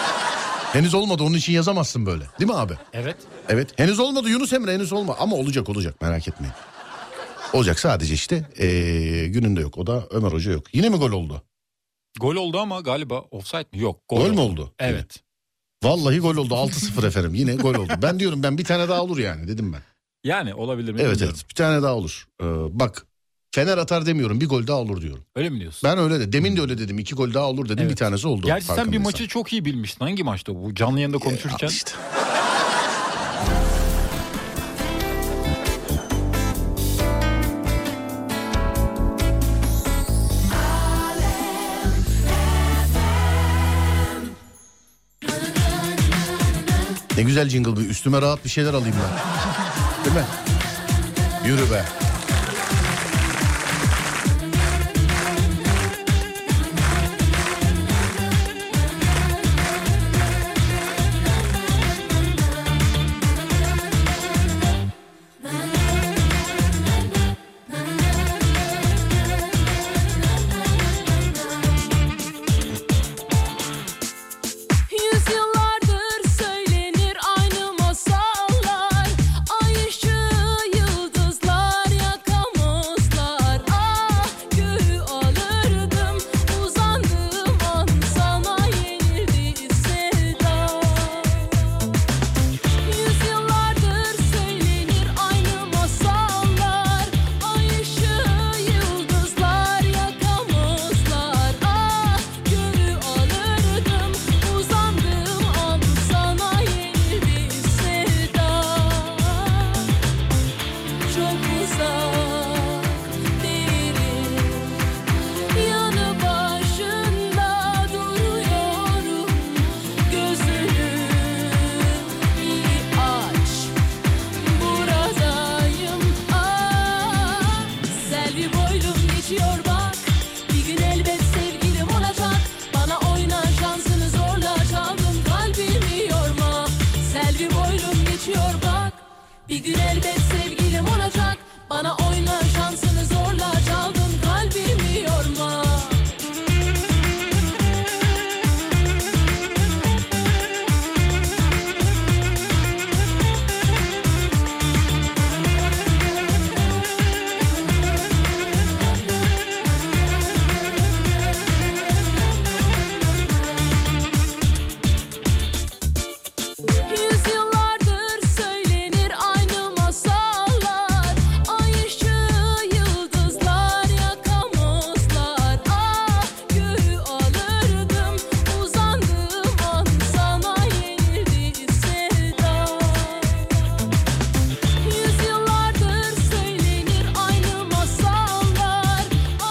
S9: henüz olmadı onun için yazamazsın böyle. Değil mi abi?
S10: Evet.
S9: Evet. Henüz olmadı Yunus Emre henüz olma. Ama olacak olacak merak etmeyin. Olacak sadece işte eee, gününde yok. O da Ömer Hoca yok. Yine mi gol oldu?
S10: Gol oldu ama galiba offside mi? Yok. Gol,
S9: Gol, mü oldu?
S10: Evet.
S9: Vallahi gol oldu 6-0 efendim. Yine gol oldu. Ben diyorum ben bir tane daha olur yani dedim ben.
S10: Yani olabilir mi?
S9: Evet
S10: bilmiyorum.
S9: evet bir tane daha olur. Ee, bak Fener atar demiyorum bir gol daha olur diyorum.
S10: Öyle mi diyorsun?
S9: Ben öyle de demin de öyle dedim iki gol daha olur dedim
S10: Evet.
S9: bir tanesi oldu.
S10: Gerçi sen bir
S9: farkındaysan. Ee,
S10: maçı çok iyi bilmiştin. Hangi maçta bu? Canlı yayında konuşurken.
S9: Ne güzel jingle bu. Üstüme rahat bir şeyler alayım ben. Değil mi? Yürü be.
S3: Yüzyıllardır söylenir aynı masallar Ay ışığı yıldızlar yakamazlar Ah gül alırdım uzandığım an Sana yenildi sevdam Yüzyıllardır söylenir aynı masallar Ay ışığı yıldızlar yakamazlar Ah gönül alırdım uzandığım an Sana yeni bir sevda Çok uzak değilim Yanı başında duruyorum Gözünü bir aç buradayım ah selvi boylum geçiyor bak bir gün elbet sevgilim olacak bana oyna şansını zorla çaldım kalbimi yorma selvi boylum geçiyor bak bir gün elbet sevgilim olacak bana oyna şansını zorla çaldım kalbimi yorma Yüzyıllardır söylenir aynı masallar Ay ışığı yıldızlar yakamazlar Ah göğü alırdım uzandığım an Sana yenildi sevdam Yüzyıllardır söylenir aynı masallar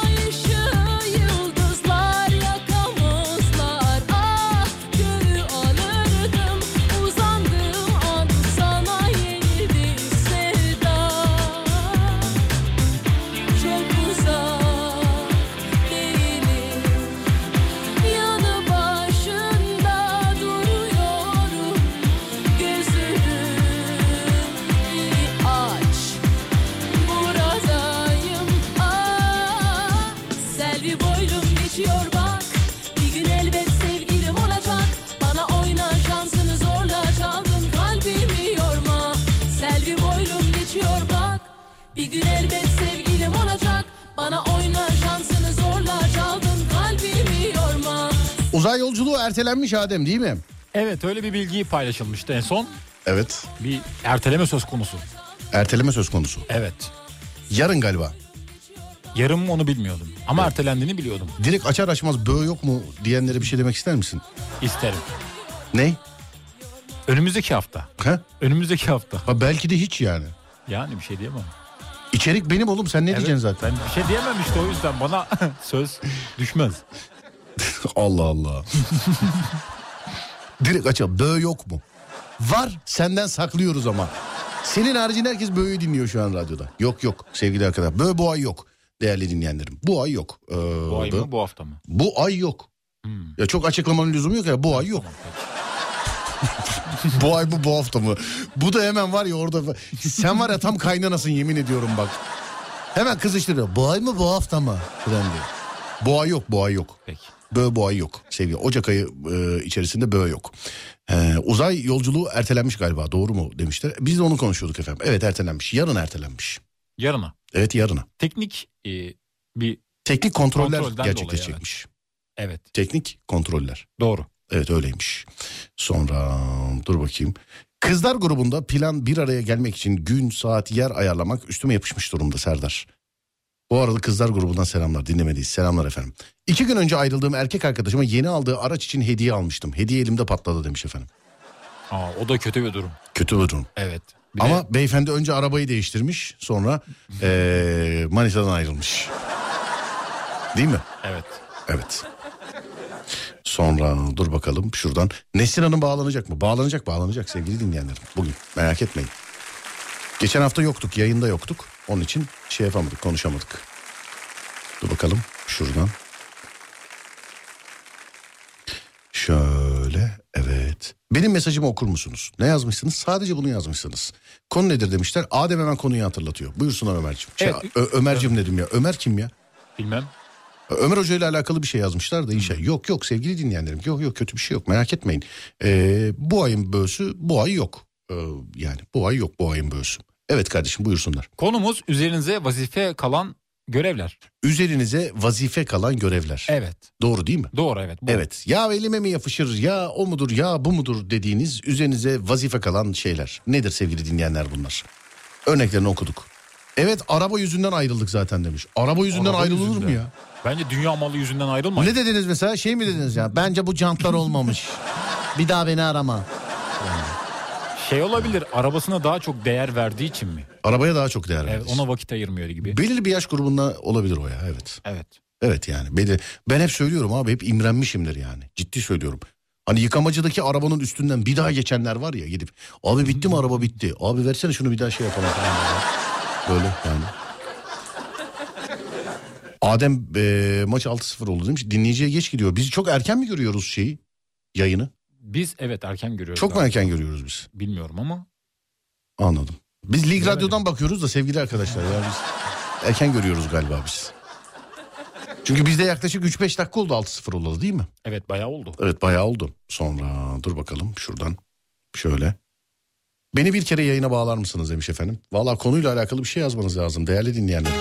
S3: Ay ışığı yıldızlar yakamazlar Ah gönül alırdım uzandığım an Sana yeni bir sevda Çok uzak değilim Yanı başında duruyorum Gözünü bir aç buradayım ah selvi boylum geçiyor bak bir gün elbet sevgilim olacak bana oyna şansını zorla çaldım kalbimi yorma selvi boylum geçiyor bak bir gün elbet sevgilim olacak bana oyna şansını zorla çaldım kalbimi yorma
S9: Uzay yolculuğu ertelenmiş Adem değil mi?
S10: Evet öyle bir bilgi paylaşılmıştı en son.
S9: Evet.
S10: Bir erteleme söz konusu.
S9: Erteleme söz konusu.
S10: Evet.
S9: Yarın galiba.
S10: Yarın mı onu bilmiyordum. Ama ertelendiğini biliyordum.
S9: Direkt açar açmaz böğü yok mu diyenlere bir şey demek ister misin?
S10: İsterim.
S9: Ne?
S10: Önümüzdeki hafta.
S9: He?
S10: Önümüzdeki hafta.
S9: Ha belki de hiç yani.
S10: Yani bir şey diyemem.
S9: İçerik benim oğlum sen ne diyeceksin zaten?
S10: Bir şey diyemem işte o yüzden bana söz düşmez.
S9: Allah Allah. Direkt açalım. Böğü yok mu? Var senden saklıyoruz ama. Senin haricinde herkes böğü dinliyor şu an radyoda. Yok yok sevgili arkadaşlar. Böğü bu ay yok değerli dinleyenlerim. Bu ay yok. Ee,
S10: Bu ay
S9: bö-
S10: mı bu hafta mı?
S9: Bu ay yok. Ya çok açıklamanın lüzumu yok ya bu ay yok. bu ay mı bu hafta mı? Bu da hemen var ya orada. Sen var ya tam kaynanasın yemin ediyorum bak. Hemen kızıştırıyor. Bu ay mı bu hafta mı? Falan diyor. Bu ay yok bu ay yok.
S10: Peki.
S9: Bö bu ay yok sevgili. Ocak ayı e, içerisinde bö yok. E, uzay yolculuğu ertelenmiş galiba doğru mu demişler. Biz de onu konuşuyorduk efendim. Evet ertelenmiş. Yarın ertelenmiş.
S10: Yarına.
S9: Evet yarına.
S10: Teknik e, bir
S9: Teknik kontroller
S10: Kontrolden dolayı,
S9: gerçekleşecekmiş.
S10: evet.
S9: Teknik kontroller.
S10: Doğru.
S9: Evet öyleymiş. Sonra dur bakayım. Kızlar grubunda plan bir araya gelmek için gün, saat, yer ayarlamak üstüme yapışmış durumda Serdar. Bu arada kızlar grubundan selamlar dinlemediyiz. Selamlar efendim. İki gün önce ayrıldığım erkek arkadaşıma yeni aldığı araç için hediye almıştım. Hediye elimde patladı demiş efendim.
S10: Aa, o da kötü bir durum.
S9: Kötü bir durum.
S10: Evet.
S9: Ama beyefendi önce arabayı değiştirmiş sonra eee, Manisa'dan ayrılmış. Değil mi?
S10: Evet.
S9: Evet. Sonra dur bakalım şuradan. Nesin Hanım bağlanacak mı? Bağlanacak bağlanacak sevgili dinleyenlerim. Bugün merak etmeyin. Geçen hafta yoktuk yayında yoktuk. Onun için şey yapamadık konuşamadık. Dur bakalım şuradan. Şöyle evet. Benim mesajımı okur musunuz? Ne yazmışsınız? Sadece bunu yazmışsınız. Konu nedir demişler. Adem hemen konuyu hatırlatıyor. Buyursunlar Ömerciğim. Şey,
S10: Evet.
S9: Ö- Ömerciğim dedim ya. Ömer kim ya?
S10: Bilmem.
S9: Ömer Hoca ile alakalı bir şey yazmışlar da inşallah. Yok yok sevgili dinleyenlerim. Yok yok kötü bir şey yok merak etmeyin. Ee, bu ayın böğüsü bu ay yok. Ee, yani bu ay yok bu ayın böğüsü. Evet kardeşim buyursunlar.
S10: Konumuz üzerinize vazife kalan görevler.
S9: Üzerinize vazife kalan görevler.
S10: Evet.
S9: Doğru değil mi?
S10: Doğru evet. bu.
S9: Evet. Ya elime mi yapışır ya o mudur ya bu mudur dediğiniz üzerinize vazife kalan şeyler. Nedir sevgili dinleyenler bunlar? Örneklerini okuduk. Evet araba yüzünden ayrıldık zaten demiş. Araba yüzünden
S10: Araba
S9: ayrılır mı
S10: yüzünden.
S9: ya?
S10: Bence dünya malı yüzünden ayrılmayın.
S9: Ne dediniz mesela? Şey mi dediniz ya? Bence bu jantlar olmamış. bir daha beni arama.
S10: Şey olabilir arabasına daha çok değer verdiği için mi?
S9: Arabaya daha çok değer
S10: Evet,
S9: veririz.
S10: ona vakit ayırmıyor gibi.
S9: Belirli bir yaş grubunda olabilir o ya evet.
S10: Evet.
S9: Evet yani. Belli- Ben hep söylüyorum abi hep imrenmişimdir yani. Ciddi söylüyorum. Hani yıkamacıdaki arabanın üstünden bir daha geçenler var ya gidip. Abi bitti mi araba bitti. Abi versene şunu bir daha şey yapalım. falan diye. Böyle yani. Adem e, maç 6-0 oldu demiş. Dinleyiciye geç gidiyor. Biz çok erken mi görüyoruz şeyi? Yayını?
S10: Biz evet erken görüyoruz.
S9: Çok mu
S10: abi.
S9: erken görüyoruz biz?
S10: Bilmiyorum ama.
S9: Anladım. Biz Lig
S10: Bilemedim.
S9: Radyo'dan bakıyoruz da sevgili arkadaşlar ya biz erken görüyoruz galiba biz. Çünkü bizde yaklaşık 3-5 dakika oldu 6-0 olalı değil mi?
S10: Evet bayağı oldu.
S9: Evet bayağı oldu. Sonra dur bakalım şuradan şöyle. Beni bir kere yayına bağlar mısınız demiş efendim. Valla konuyla alakalı bir şey yazmanız lazım değerli dinleyenler.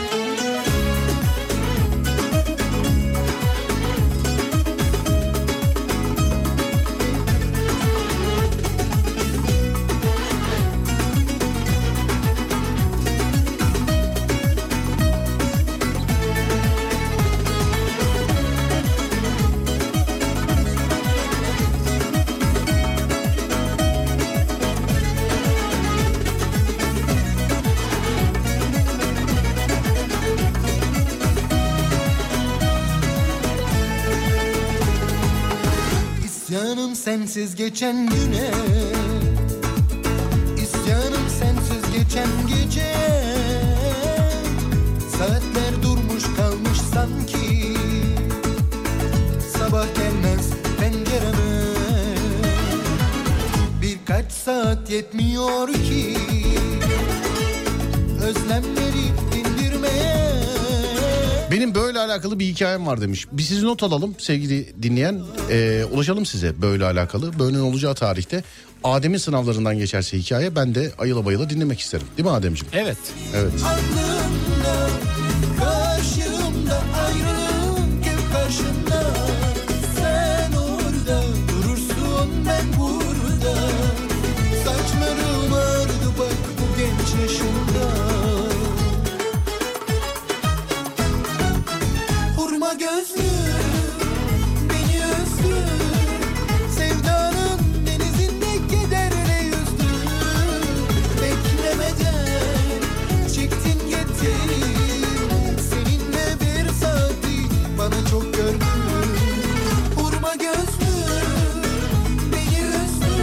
S14: İsyanım sensiz geçen güne İsyanım sensiz geçen gece Saatler durmuş kalmış sanki Sabah gelmez pencereme Birkaç saat yetmiyor ki Özlemleri dindirmeye
S9: Benim böyle alakalı bir hikayem var demiş. Biz sizi not alalım sevgili dinleyen. Ee, ulaşalım size böyle alakalı. Böyle olacağı tarihte Adem'in sınavlarından geçerse hikaye ben de ayıla bayıla dinlemek isterim. Değil mi Ademciğim?
S10: Evet.
S9: Evet.
S14: Aklımda, karşımda ayrılık hep karşımda Sen orada durursun ben burada Saçlarım ağrıdı bak bu genç yaşımda Hurma gözlü beni üzdü Sevdanın denizinde kederle yüzdü Beklemeden çektin gittin Seninle bir saati bana çok görgün Vurma gözlü beni üzdü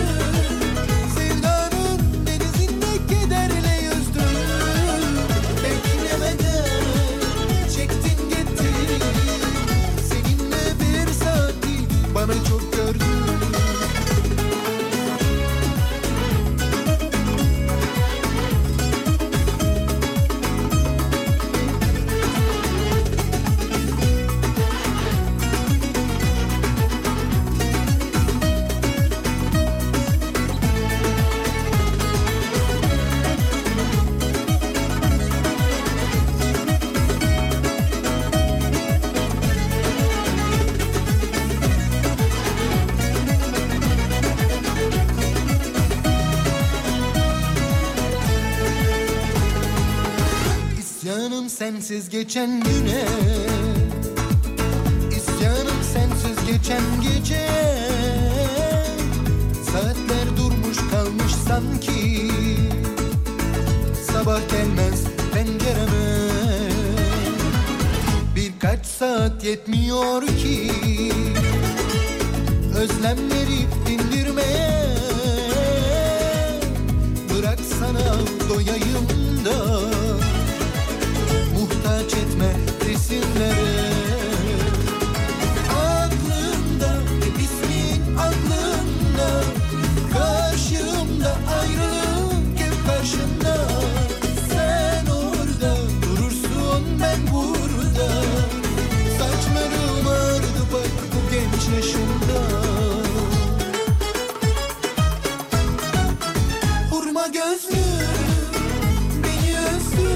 S14: Sevdanın denizinde kederle yüzdü Beklemeden çektin gittin Seninle bir saati bana çok görgün İsyanım sensiz geçen güne İsyanım sensiz geçen gece Saatler durmuş kalmış sanki Sabah gelmez pencereme Birkaç saat yetmiyor ki özlemleri dindirmeye Bırak sana doyayım da Muhtaç etme resimlere Aklımda hep ismin aklımda Karşımda ayrılık hep karşımda Sen orada durursun ben burada Saçlarım ağrıdı bak bu genç yaşımda Hurma gözlü beni üzdü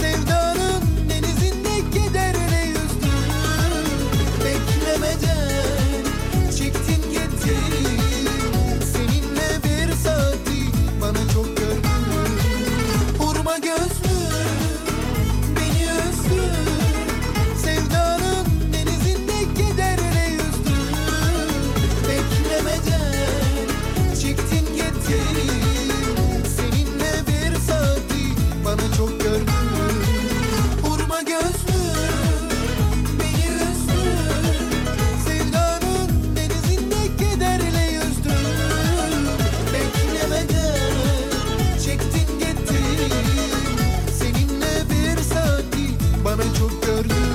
S14: Sevdanın denizinde kederle yüzdü Beklemeden çektin gittin Seninle bir saati bana çok gördün Hurma gözlü beni üzdü Sevdanın denizinde kederle yüzdü Beklemeden çektin gittin Seninle bir saati bana çok gördün Hurma gözlü beni üzdü Sevdanın denizinde kederle yüzdü Beklemeden çektin gittin Seninle bir saati bana çok gördün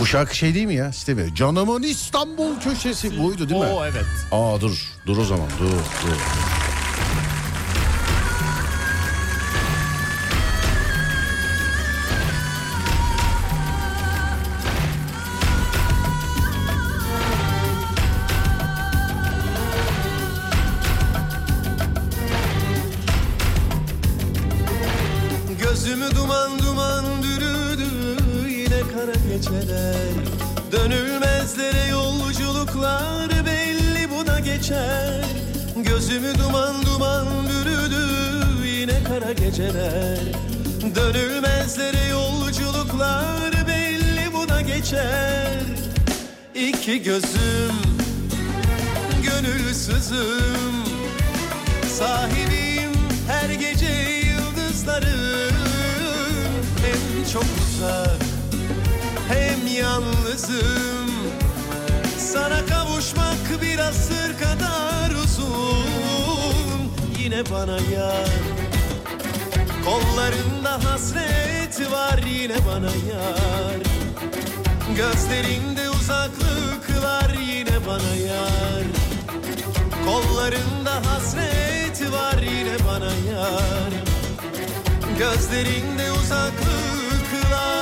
S9: Bu şarkı şey değil mi ya? Site mi? Canımın İstanbul köşesi buydu değil mi?
S10: Oo, evet.
S9: Aa dur. Dur o zaman. Dur dur.
S15: Gözümü duman duman dürüdü yine kara geceler Dönülmezlere yolculuklar belli buna geçer Gözümü duman duman bürüdü yine kara geceler Dönülmezlere yolculuklar belli buna geçer İki gözüm gönülsüzüm Sahibim her gece yıldızların Hem çok uzak hem yalnızım Sana kavuşmak bir asır kadar uzun Yine bana yar Kollarında hasret var yine bana yar Gözlerinde uzaklık var yine bana yar Kollarında hasret var yine bana yar Gözlerinde uzaklık var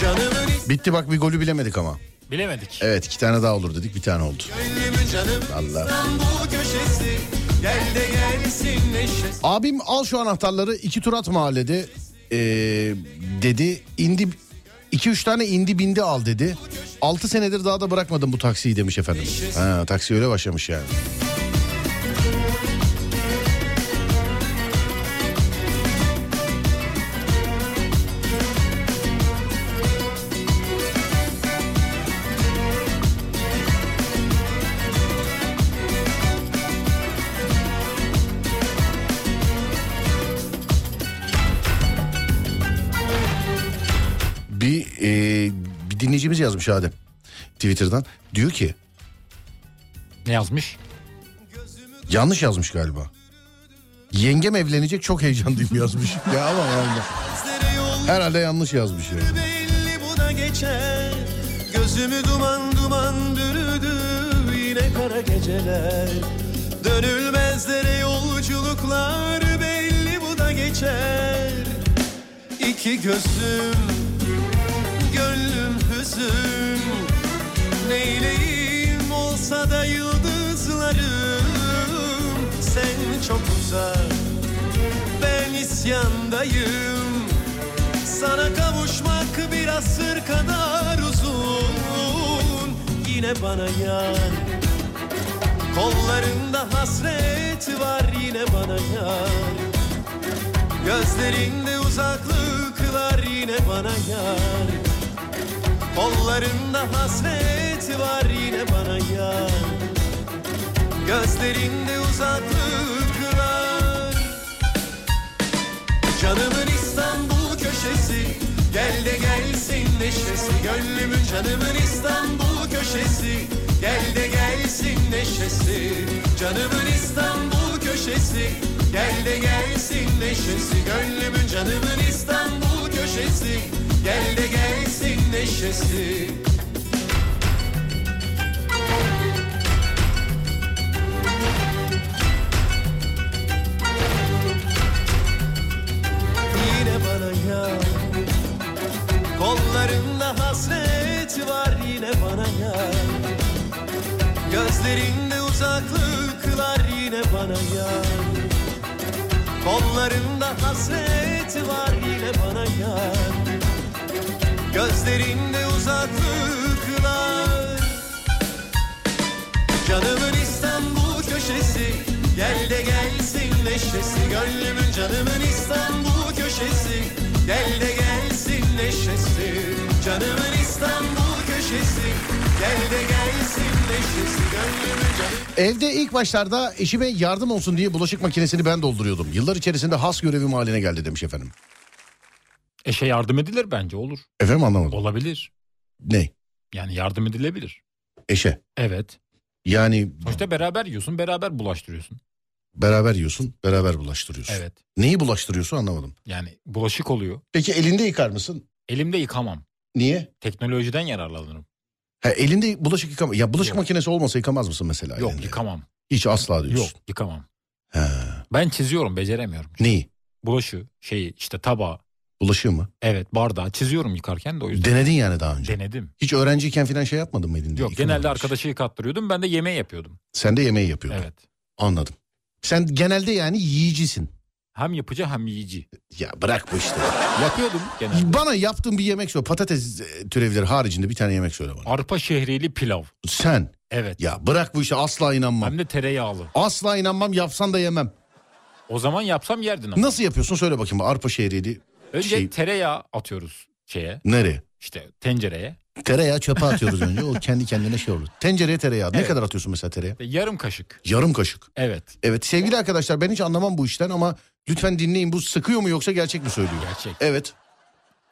S15: Canımın
S9: Bitti bak bir golü bilemedik ama.
S10: Bilemedik.
S9: Evet iki tane daha olur dedik bir tane oldu.
S15: gönlümün canım
S9: Vallahi.
S15: İstanbul köşesi Gel de gelsin neşesi
S9: Abim al şu anahtarları iki turat mahallede ee, dedi. indi iki üç tane indi bindi al dedi. Altı senedir daha da bırakmadım bu taksiyi demiş efendim. Ha, taksi öyle başlamış yani. Bir, ee, bir dinleyicimiz yazmış Adem Twitter'dan. Diyor ki
S10: Ne yazmış?
S9: yanlış yazmış galiba. Yengem evlenecek çok heyecanlıyım yazmış. ya ama yani. Herhalde yanlış yazmış yani.
S15: belli bu da geçer Gözümü duman duman bürüdü yine kara geceler Dönülmezlere yolculuklar belli bu da geçer İki gözüm gönlüm hüzün Neyleyim olsa da yıldızlarım Sen çok uzak ben isyandayım sana kavuşmak bir asır kadar uzun Yine bana yan Kollarında hasret var yine bana yan Gözlerinde uzaklıklar yine bana yan Kollarında hasret var yine bana yan Gözlerinde uzaklıklar Canımın İstanbul köşesi Gel de gelsin neşesi Gönlümün canımın İstanbul köşesi Gel de gelsin neşesi Canımın İstanbul köşesi Gel de gelsin neşesi Gönlümün canımın İstanbul köşesi Gel de gelsin neşesi yine bana ya Kollarında hasret var yine bana ya Gözlerinde uzaklıklar yine bana ya Kollarında hasret var yine bana ya Gözlerinde uzaklıklar Canımın İstanbul köşesi Gel de gelsin neşesi Gönlümün canımın İstanbul köşesi Gel de gelsin neşesi Canımın İstanbul köşesi Gel de gelsin neşesi Gönlümün canı
S9: Evde ilk başlarda eşime yardım olsun diye bulaşık makinesini ben dolduruyordum. Yıllar içerisinde has görevim haline geldi demiş efendim.
S10: Eşe yardım edilir bence olur.
S9: Efendim anlamadım.
S10: Olabilir.
S9: Ne?
S10: Yani yardım edilebilir.
S9: Eşe.
S10: Evet.
S9: Yani
S10: Sonuçta beraber yiyorsun beraber bulaştırıyorsun.
S9: beraber yiyorsun, beraber bulaştırıyorsun.
S10: Evet.
S9: Neyi bulaştırıyorsun anlamadım.
S10: Yani bulaşık oluyor.
S9: Peki elinde yıkar mısın?
S10: Elimde yıkamam.
S9: Niye?
S10: Teknolojiden yararlanırım.
S9: Ha, elinde bulaşık yıkama. Ya bulaşık makinesi olmasa yıkamaz mısın mesela?
S10: Yok
S9: elinde?
S10: yıkamam.
S9: Hiç asla diyorsun.
S10: Yok yıkamam. Ben çiziyorum beceremiyorum.
S9: Neyi?
S10: Bulaşı şeyi işte tabağı.
S9: Bulaşığı mı?
S10: Evet bardağı çiziyorum yıkarken de o yüzden.
S9: Denedin yani daha önce.
S10: Denedim.
S9: Hiç öğrenciyken falan şey yapmadın mı elinde?
S10: Yok
S9: yıkamadın?
S10: genelde arkadaşı yıkattırıyordum ben de yemeği yapıyordum.
S9: Sen de yemeği yapıyordun.
S10: Evet.
S9: Anladım. Sen genelde yani yiyicisin.
S10: Hem yapıcı hem yiyici.
S9: Ya bırak bu işte.
S10: Yapıyordum genelde.
S9: Bana yaptığın bir yemek söyle. Patates e, türevleri haricinde bir tane yemek söyle bana.
S10: Arpa şehriyeli pilav.
S9: Sen.
S10: Evet.
S9: Ya bırak bu işe asla inanmam.
S10: Hem de tereyağlı.
S9: Asla inanmam yapsan da yemem.
S10: O zaman yapsam yerdin ama.
S9: Nasıl yapıyorsun söyle bakayım. Arpa şehriyeli.
S10: Önce
S9: Şey-
S10: tereyağı atıyoruz şeye
S9: Nereye?
S10: işte tencereye.
S9: Tereyağı çöpe atıyoruz önce. O kendi kendine şey olur. Tencereye tereyağı. Ne
S10: Evet.
S9: kadar atıyorsun mesela tereyağı?
S10: Ve Yarım kaşık.
S9: Yarım kaşık.
S10: Evet.
S9: Evet sevgili arkadaşlar ben hiç anlamam bu işten ama lütfen dinleyin bu sıkıyor mu yoksa gerçek mi söylüyor?
S10: Gerçek.
S9: Evet.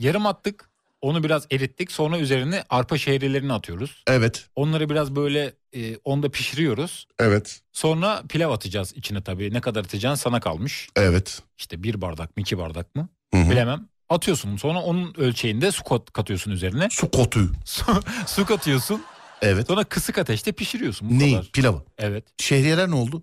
S10: Yarım attık. Onu biraz erittik. Sonra üzerine arpa şehriyelerini atıyoruz.
S9: Evet.
S10: Onları biraz böyle e, onda pişiriyoruz.
S9: Evet.
S10: Sonra pilav atacağız içine tabii. Ne kadar atacağın sana kalmış.
S9: Evet.
S10: İşte bir bardak mı iki bardak mı bilemem. Atıyorsun sonra onun ölçeğinde su kat- katıyorsun üzerine.
S9: Su kotu.
S10: Su, su katıyorsun.
S9: Evet.
S10: Sonra kısık ateşte pişiriyorsun. Bu
S9: Neyi?
S10: kadar.
S9: Pilavı.
S10: Evet.
S9: Şehriyeler ne oldu?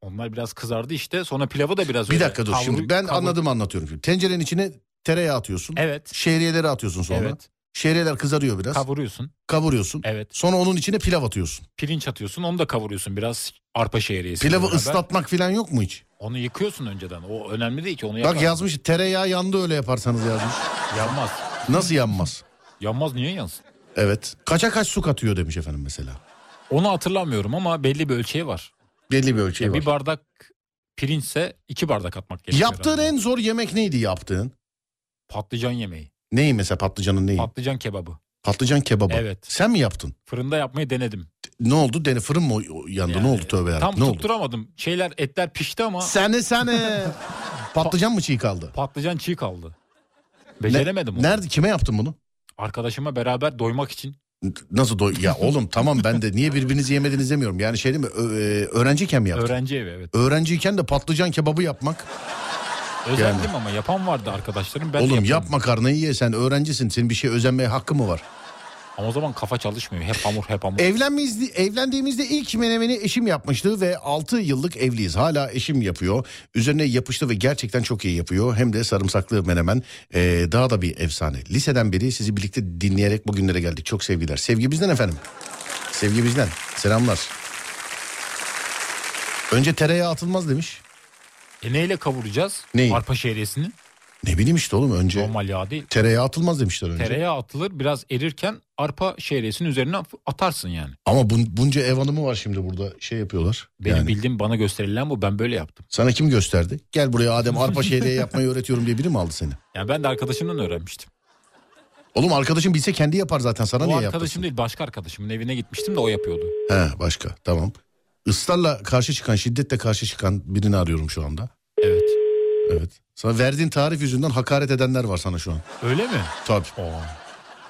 S10: Onlar biraz kızardı işte. Sonra pilavı da biraz
S9: Bir
S10: öyle
S9: dakika dur
S10: kavur-
S9: şimdi ben
S10: kavur-
S9: anladım anlatıyorum. Şimdi. Tencerenin içine tereyağı atıyorsun.
S10: Evet.
S9: Şehriyeleri atıyorsun sonra.
S10: Evet.
S9: Şehriyeler kızarıyor biraz.
S10: Kavuruyorsun.
S9: Kavuruyorsun.
S10: Evet.
S9: Sonra onun içine pilav atıyorsun.
S10: Pirinç atıyorsun onu da kavuruyorsun biraz arpa şehriyesi.
S9: Pilavı ıslatmak falan yok mu hiç?
S10: Onu yıkıyorsun önceden. O önemli değil ki onu
S9: Bak
S10: yaparsın.
S9: yazmış tereyağı yandı öyle yaparsanız yazmış.
S10: Yanmaz.
S9: Nasıl yanmaz?
S10: Yanmaz niye yansın?
S9: Evet. Kaça kaç su katıyor demiş efendim mesela.
S10: Onu hatırlamıyorum ama belli bir ölçeği var.
S9: Belli bir
S10: Ya
S9: ölçeği var.
S10: Bir bardak pirinçse iki bardak atmak gerekiyor.
S9: Yaptığın en zor yemek neydi yaptığın?
S10: Patlıcan yemeği.
S9: Neyi mesela patlıcanın neyi?
S10: Patlıcan kebabı.
S9: Patlıcan kebabı.
S10: Evet.
S9: Sen mi yaptın?
S10: Fırında yapmayı denedim.
S9: Ne oldu? Deni fırın mı o- o yandı? ne oldu tövbe yarabbim?
S10: Tam
S9: ne oldu?
S10: tutturamadım. Şeyler etler pişti ama
S9: Sene sene. patlıcan mı çiğ kaldı?
S10: patlıcan çiğ kaldı. Beceremedim
S9: Ne-
S10: onu.
S9: Nerede? Kime yaptın bunu?
S10: Arkadaşıma beraber doymak için.
S9: Nasıl doy? Ya oğlum tamam ben de niye birbirinizi yemediniz demiyorum. Yani şey değil mi? Ö- e, öğrenciyken mi yaptın?
S10: Öğrenci evi evet.
S9: Öğrenciyken de patlıcan kebabı yapmak.
S10: Özendim ama yapan vardı arkadaşlarım. Ben de
S9: oğlum
S10: yapıyorum.
S9: yap makarnayı ye sen öğrencisin. Senin bir şey özenmeye hakkı mı var?
S10: Ama o zaman kafa çalışmıyor. Hep hamur hep hamur.
S9: Evlenmizdi, evlendiğimizde ilk menemeni eşim yapmıştı ve 6 yıllık evliyiz. Hala eşim yapıyor. Üzerine yapıştı ve gerçekten çok iyi yapıyor. Hem de sarımsaklı menemen ee, daha da bir efsane. Liseden beri sizi birlikte dinleyerek bugünlere geldik. Çok sevgiler. Sevgi bizden efendim. Sevgi bizden. Selamlar. Önce tereyağı atılmaz demiş.
S10: E neyle kavuracağız?
S9: Neyi?
S10: Arpa şehriyesini.
S9: Ne bileyim işte oğlum önce
S10: Normal yağ değil.
S9: tereyağı atılmaz demişler önce.
S10: Tereyağı atılır biraz erirken arpa şehriyesinin üzerine atarsın yani.
S9: Ama bun- bunca ev hanımı var şimdi burada şey yapıyorlar.
S10: Benim bildiğim bana gösterilen bu. Ben böyle yaptım.
S9: Sana kim gösterdi? Gel buraya Adem arpa şehriye yapmayı öğretiyorum diye biri mi aldı seni?
S10: Yani ben de arkadaşımdan öğrenmiştim.
S9: Oğlum arkadaşın bilse kendi yapar zaten sana
S10: o
S9: niye
S10: arkadaşım
S9: yaptı?
S10: değil başka arkadaşımın evine gitmiştim de o yapıyordu.
S9: He başka tamam. Israrla karşı çıkan şiddetle karşı çıkan birini arıyorum şu anda.
S10: Evet.
S9: Evet Sana verdiğin tarif yüzünden hakaret edenler var sana şu an.
S10: Öyle mi?
S9: Tabii.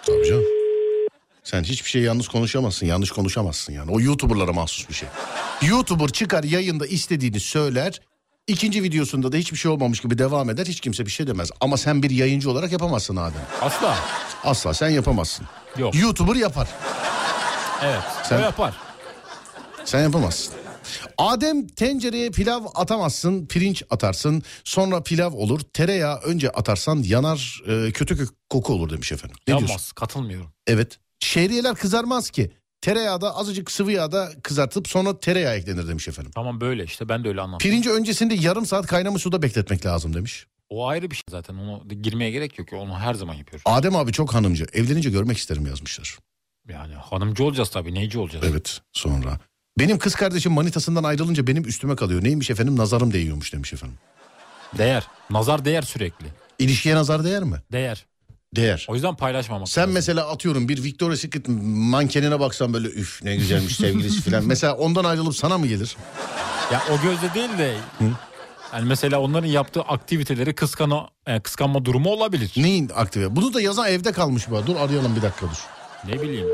S9: Tabii canım. Sen hiçbir şey yalnız konuşamazsın. Yanlış konuşamazsın yani. O YouTuber'lara mahsus bir şey. YouTuber çıkar yayında istediğini söyler. İkinci videosunda da hiçbir şey olmamış gibi devam eder. Hiç kimse bir şey demez. Ama sen bir yayıncı olarak yapamazsın Adem.
S10: Asla.
S9: Asla sen yapamazsın.
S10: Yok.
S9: YouTuber yapar.
S10: Evet.
S9: Sen-
S10: O yapar.
S9: Sen yapamazsın. Adem tencereye pilav atamazsın, pirinç atarsın. Sonra pilav olur. Tereyağı önce atarsan yanar, e, kötü kök- koku olur demiş efendim. Ne
S10: Yanmaz.
S9: diyorsun?
S10: Katılmıyorum.
S9: Evet. Şehriyeler kızarmaz ki. Tereyağı da azıcık sıvı yağda kızartılıp sonra tereyağı eklenir demiş efendim.
S10: Tamam böyle işte ben de öyle anladım.
S9: Pirinci öncesinde yarım saat kaynamış suda bekletmek lazım demiş.
S10: O ayrı bir şey zaten. Onu girmeye gerek yok. Onu her zaman yapıyorum.
S9: Adem abi çok hanımcı. Evlenince görmek isterim yazmışlar.
S10: Yani hanımcı olacağız tabii. Neyci olacağız?
S9: Evet sonra. Benim kız kardeşim manitasından ayrılınca benim üstüme kalıyor. Neymiş efendim nazarım değiyormuş demiş efendim.
S10: Değer. Nazar değer sürekli.
S9: İlişkiye nazar değer mi?
S10: Değer.
S9: Değer.
S10: O yüzden paylaşmamak.
S9: Sen mesela atıyorum bir Victoria's Secret mankenine baksan böyle üf ne güzelmiş sevgilisi falan. Mesela ondan ayrılıp sana mı gelir?
S10: Ya o gözle değil de yani mesela onların yaptığı aktiviteleri kıskana, e, kıskanma durumu olabilir.
S9: Neyin aktive? Bunu da yazan evde kalmış bu. arada. Dur arayalım bir dakika dur.
S10: Ne bileyim.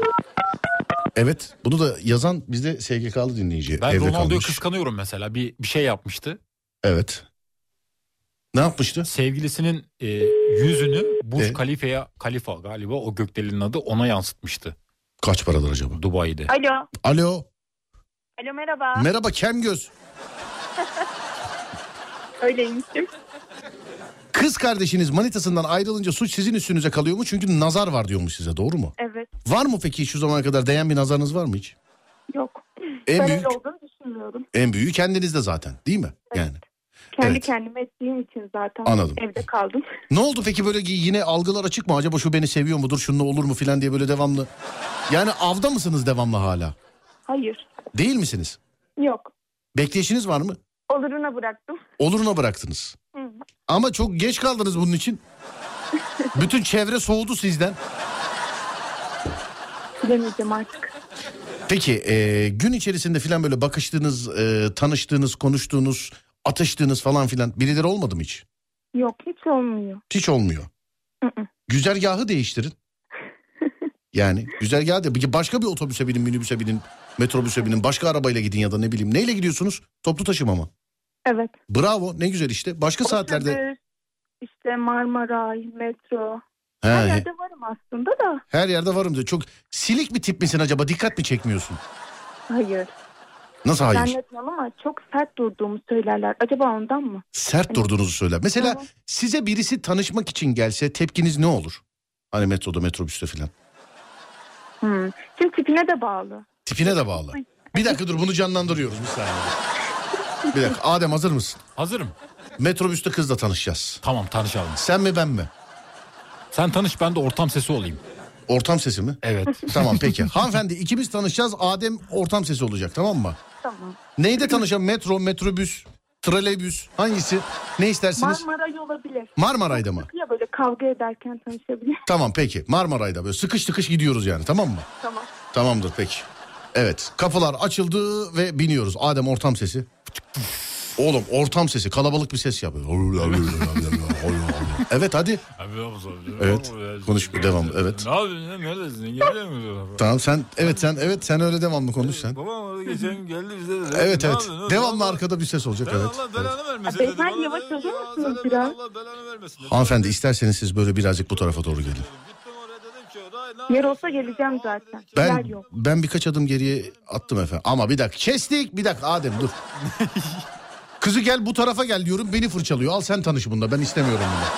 S9: Evet bunu da yazan bizde SGK'lı dinleyici
S10: Ben
S9: evde
S10: Ronaldo'yu
S9: kalmış.
S10: kıskanıyorum mesela. Bir bir şey yapmıştı.
S9: Evet. Ne yapmıştı? E?
S10: Sevgilisinin e, yüzünü Burj Khalifa'ya Khalifa galiba o gökdelenin adı ona yansıtmıştı.
S9: Kaç paradır acaba?
S10: Dubai'de.
S12: Alo.
S9: Alo.
S12: Alo merhaba.
S9: Merhaba kem göz.
S12: Öyleymişim.
S9: Kız kardeşiniz manitasından ayrılınca suç sizin üstünüze kalıyor mu? Çünkü nazar var diyormuş size doğru mu?
S12: Evet.
S9: Var mı peki şu zamana kadar değen bir nazarınız var mı hiç?
S12: Yok.
S9: En
S12: ben
S9: büyük-
S12: öyle olduğunu düşünmüyorum.
S9: En büyüğü kendinizde zaten değil mi? Yani.
S12: Kendi
S9: Evet.
S12: kendime ettiğim için zaten
S9: Anladım.
S12: evde kaldım.
S9: Ne oldu peki böyle ki yine algılar açık mı? Acaba şu beni seviyor mudur? Şununla olur mu filan diye böyle devamlı. Yani avda mısınız devamlı hala?
S12: Hayır.
S9: Değil misiniz?
S12: Yok.
S9: Bekleyişiniz var mı?
S12: Oluruna bıraktım.
S9: Oluruna bıraktınız.
S12: Hı.
S9: Ama çok geç kaldınız bunun için. Bütün çevre soğudu sizden.
S12: Bilemeyeceğim artık.
S9: Peki e, gün içerisinde filan böyle bakıştığınız, e, tanıştığınız, konuştuğunuz, atıştığınız falan filan birileri olmadı mı hiç?
S12: Yok hiç olmuyor.
S9: Hiç olmuyor. Güzergahı değiştirin. Yani güzergahı da peki başka bir otobüse binin, minibüse binin, metrobüse binin, başka arabayla gidin ya da ne bileyim. Neyle gidiyorsunuz? Toplu taşıma mı?
S12: Evet.
S9: Bravo ne güzel işte. Başka saatlerde
S12: Otobüs, İşte Marmaray, metro.
S9: He,
S12: Her
S9: he.
S12: yerde varım aslında da.
S9: her yerde varım diyor. Çok silik bir tip misin acaba? Dikkat mi çekmiyorsun?
S12: Hayır.
S9: Nasıl hayır?
S12: Zannetmiyorum ama çok sert durduğumu söylerler. Acaba ondan mı?
S9: Sert durduğunuzu söyle. Mesela size birisi tanışmak için gelse tepkiniz ne olur? Hani metroda, metrobüste filan.
S12: Hmm. Şimdi tipine de bağlı.
S9: Tipine de bağlı. Bir dakika dur bunu canlandırıyoruz bir saniye. Bir dakika Adem hazır mısın?
S10: Hazırım.
S9: Metrobüste kızla tanışacağız.
S10: Tamam tanışalım.
S9: Sen mi ben mi?
S10: Sen tanış ben de ortam sesi olayım.
S9: Ortam sesi mi?
S10: Evet.
S9: Tamam peki. Hanımefendi ikimiz tanışacağız. Adem ortam sesi olacak tamam mı?
S12: Tamam.
S9: Neyde tanışalım? Metro, metrobüs, trolleybüs hangisi? Ne istersiniz?
S12: Marmaray olabilir.
S9: Marmaray'da mı?
S12: Ya böyle kavga ederken tanışabilir.
S9: Tamam peki. Marmaray'da böyle sıkış tıkış gidiyoruz yani tamam mı?
S12: Tamam.
S9: Tamamdır peki. Evet kapılar açıldı ve biniyoruz. Adem ortam sesi. Oğlum ortam sesi kalabalık bir ses yapıyor. evet hadi. Evet konuş devam evet.
S10: Ne yapıyorsun? ya? Neredesin? Geliyor musun?
S9: Tamam sen evet sen evet sen öyle devamlı konuş sen.
S10: Babam orada geçen gün geldi bize. dedi,
S9: Evet
S10: "Ne
S9: evet
S10: yapıyorsun oğlum?
S9: devamlı arkada bir ses olacak evet.
S12: Beyefendi yavaş olur musunuz biraz?
S9: Hanımefendi isterseniz siz böyle birazcık bu tarafa doğru gelin.
S12: Yer olsa geleceğim zaten. Yer
S9: Ben
S12: yok.
S9: ben birkaç adım geriye attım efendim. Ama bir dakika kestik bir dakika Adem dur. Kızı gel bu tarafa gel diyorum beni fırçalıyor. Al sen tanış bunda ben istemiyorum bunu.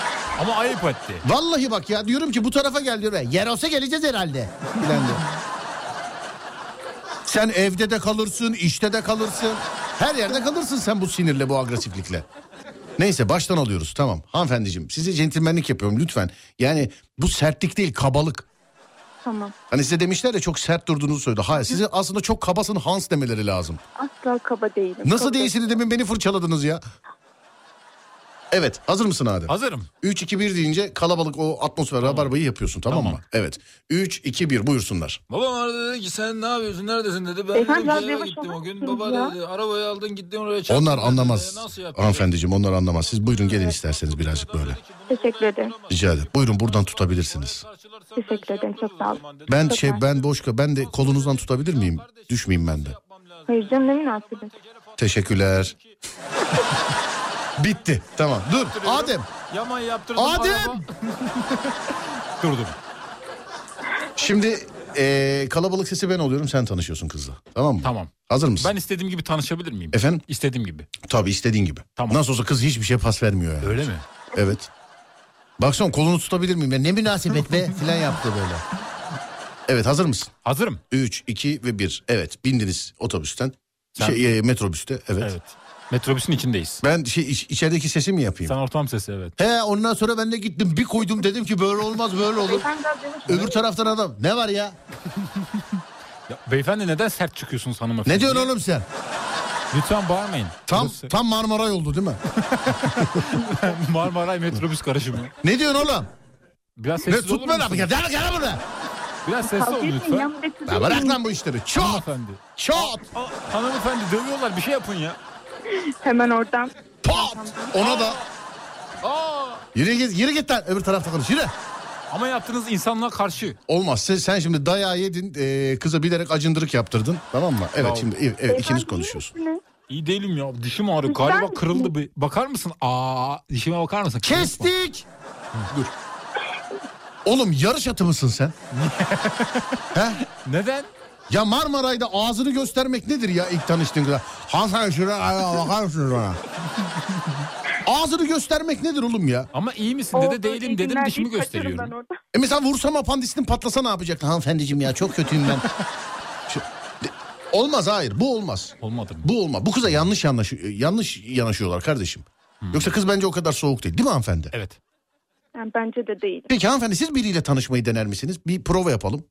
S10: Ama ayıp etti.
S9: Vallahi bak ya diyorum ki bu tarafa gel diyor. Yer olsa geleceğiz herhalde. Bilen de. Sen evde de kalırsın, işte de kalırsın. Her yerde kalırsın sen bu sinirle, bu agresiflikle. Neyse baştan alıyoruz tamam. Hanımefendiciğim size centilmenlik yapıyorum lütfen. Yani bu sertlik değil kabalık.
S12: Tamam.
S9: Hani size demişler ya çok sert durduğunuzu söyledi. Hayır size aslında çok kabasın Hans demeleri lazım.
S12: Asla kaba değilim.
S9: Nasıl
S12: Kaba-
S9: değilsiniz demin beni fırçaladınız ya. Evet hazır mısın Adem?
S10: Hazırım.
S9: 3-2-1 deyince kalabalık o atmosfer rabarbayı yapıyorsun tamam, mı? Evet. 3-2-1 buyursunlar.
S16: Babam aradı dedi ki sen ne yapıyorsun neredesin dedi. Ben
S12: Efendim,
S16: dedim
S12: biraz
S16: ki eve
S12: yavaş
S16: gittim
S12: olur
S16: o gün.
S12: musunuz
S16: Baba
S12: ya?
S16: dedi arabayı aldın gittin oraya çarptın.
S9: Onlar
S16: dedi.
S9: anlamaz
S16: Nasıl yaptın?
S9: hanımefendiciğim onlar anlamaz. Siz buyurun gelin isterseniz birazcık böyle.
S12: Teşekkür ederim.
S9: Rica ederim. Buyurun buradan tutabilirsiniz.
S17: şey
S12: Teşekkür ederim. Çok sağ olun.
S9: Ben
S12: Çok
S9: şey
S12: sağ-
S9: ben boş ben de kolunuzdan tutabilir miyim? Düşmeyeyim ben de.
S12: Hayır canım ne münasebet.
S9: Teşekkürler. Bitti. Tamam. Dur. Adem.
S16: Yaman yaptırdım.
S9: Adem.
S16: araba.
S9: Durdum. Şimdi eee, kalabalık sesi ben oluyorum sen tanışıyorsun kızla. Tamam mı? Tamam. Hazır mısın?
S10: Ben istediğim gibi tanışabilir miyim?
S9: Efendim?
S10: İstediğim gibi.
S9: Tabii istediğin gibi. Nasıl olsa kız hiçbir şey pas vermiyor yani. Öyle mi? Evet. Baksana kolunu tutabilir miyim? Ya ne münasebet be filan yaptı böyle. Evet hazır mısın? Hazırım. 3, 2 ve 1. Evet bindiniz otobüsten.
S10: Sen-
S9: Şey, e, metrobüste evet.
S10: Evet. Metrobüsün içindeyiz.
S9: Ben şey, iç- içerideki sesi mi yapayım?
S10: Sen ortam sesi evet.
S9: He E, ondan sonra ben de gittim bir koydum dedim ki böyle olmaz böyle olur. Öbür taraftan adam ne var ya?
S10: Ya, beyefendi neden sert çıkıyorsunuz hanımefendi?
S9: Ne diyorsun oğlum sen?
S10: Lütfen bağırmayın.
S9: Tam tam Marmaray oldu değil mi?
S10: Marmaray metrobüs karışımı.
S9: Ne diyorsun oğlum?
S10: Biraz
S9: Ne
S10: sessiz olur
S9: tutma lan
S10: musun?
S9: gel gel gel buraya.
S10: Biraz sessiz ol lütfen.
S9: Ya bırak lan bu işleri. Çok.
S10: Hanımefendi.
S9: Çat.
S10: Hanımefendi dövüyorlar bir şey yapın ya.
S11: Hemen oradan.
S9: Ona da. Yürü git, yürü git lan öbür tarafta konuş yürü.
S10: Ama yaptığınız insanlığa karşı.
S9: Olmaz. Sen, sen şimdi dayağı yedin, e, kıza bilerek acındırık yaptırdın. Tamam mı? Evet
S10: Tamam.
S9: şimdi ev- evet, ikiniz konuşuyorsun.
S10: İyi değilim ya. Dişim ağrıyor. Galiba kırıldı. Bir. Bakar mısın? Aa, dişime bakar mısın?
S9: Kestik. Dur. Oğlum yarış atı mısın sen? He?
S10: Neden?
S9: Ya Marmaray'da ağzını göstermek nedir ya ilk tanıştığın kıza? Hasan şuraya bakar mısınız ona? ağzını göstermek nedir oğlum ya?
S10: Ama iyi misin dedi, değilim dedim, dişimi gösteriyorum.
S9: E mesela vursam apandisinin patlasa ne yapacaktı hanımefendiciğim ya çok kötüyüm ben. Şu- de- olmaz hayır bu olmaz.
S10: Olmadı
S9: Bu olmaz. Bu kıza yanlış yanlış yanlış yanaşıyorlar kardeşim. Yoksa kız bence o kadar soğuk değil değil mi hanımefendi?
S10: Hmm. Evet.
S11: Yani bence de değil.
S9: Peki hanımefendi siz biriyle tanışmayı dener misiniz? Bir prova yapalım.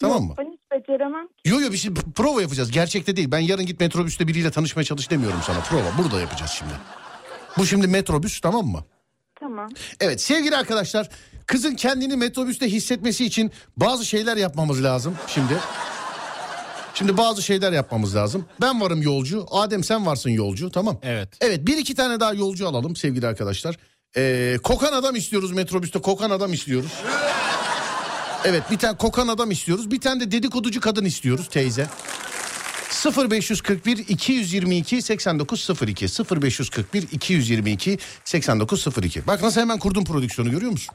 S9: Tamam mı?
S11: Ben hiç beceremem.
S9: Yo yo bir şey p- prova yapacağız. Gerçekte değil. Ben yarın git metrobüste biriyle tanışmaya çalış demiyorum sana. Prova burada yapacağız şimdi. Bu şimdi metrobüs tamam mı?
S11: Tamam.
S9: Evet sevgili arkadaşlar kızın kendini metrobüste hissetmesi için bazı şeyler yapmamız lazım şimdi. Şimdi bazı şeyler yapmamız lazım. Ben varım yolcu. Adem sen varsın yolcu tamam.
S10: Evet.
S9: Evet bir iki tane daha yolcu alalım sevgili arkadaşlar. Ee, kokan adam istiyoruz metrobüste kokan adam istiyoruz. Evet bir tane kokan adam istiyoruz. Bir tane de dedikoducu kadın istiyoruz teyze. 0541 222 8902 0541 222 8902 Bak nasıl hemen kurdum prodüksiyonu görüyor musun?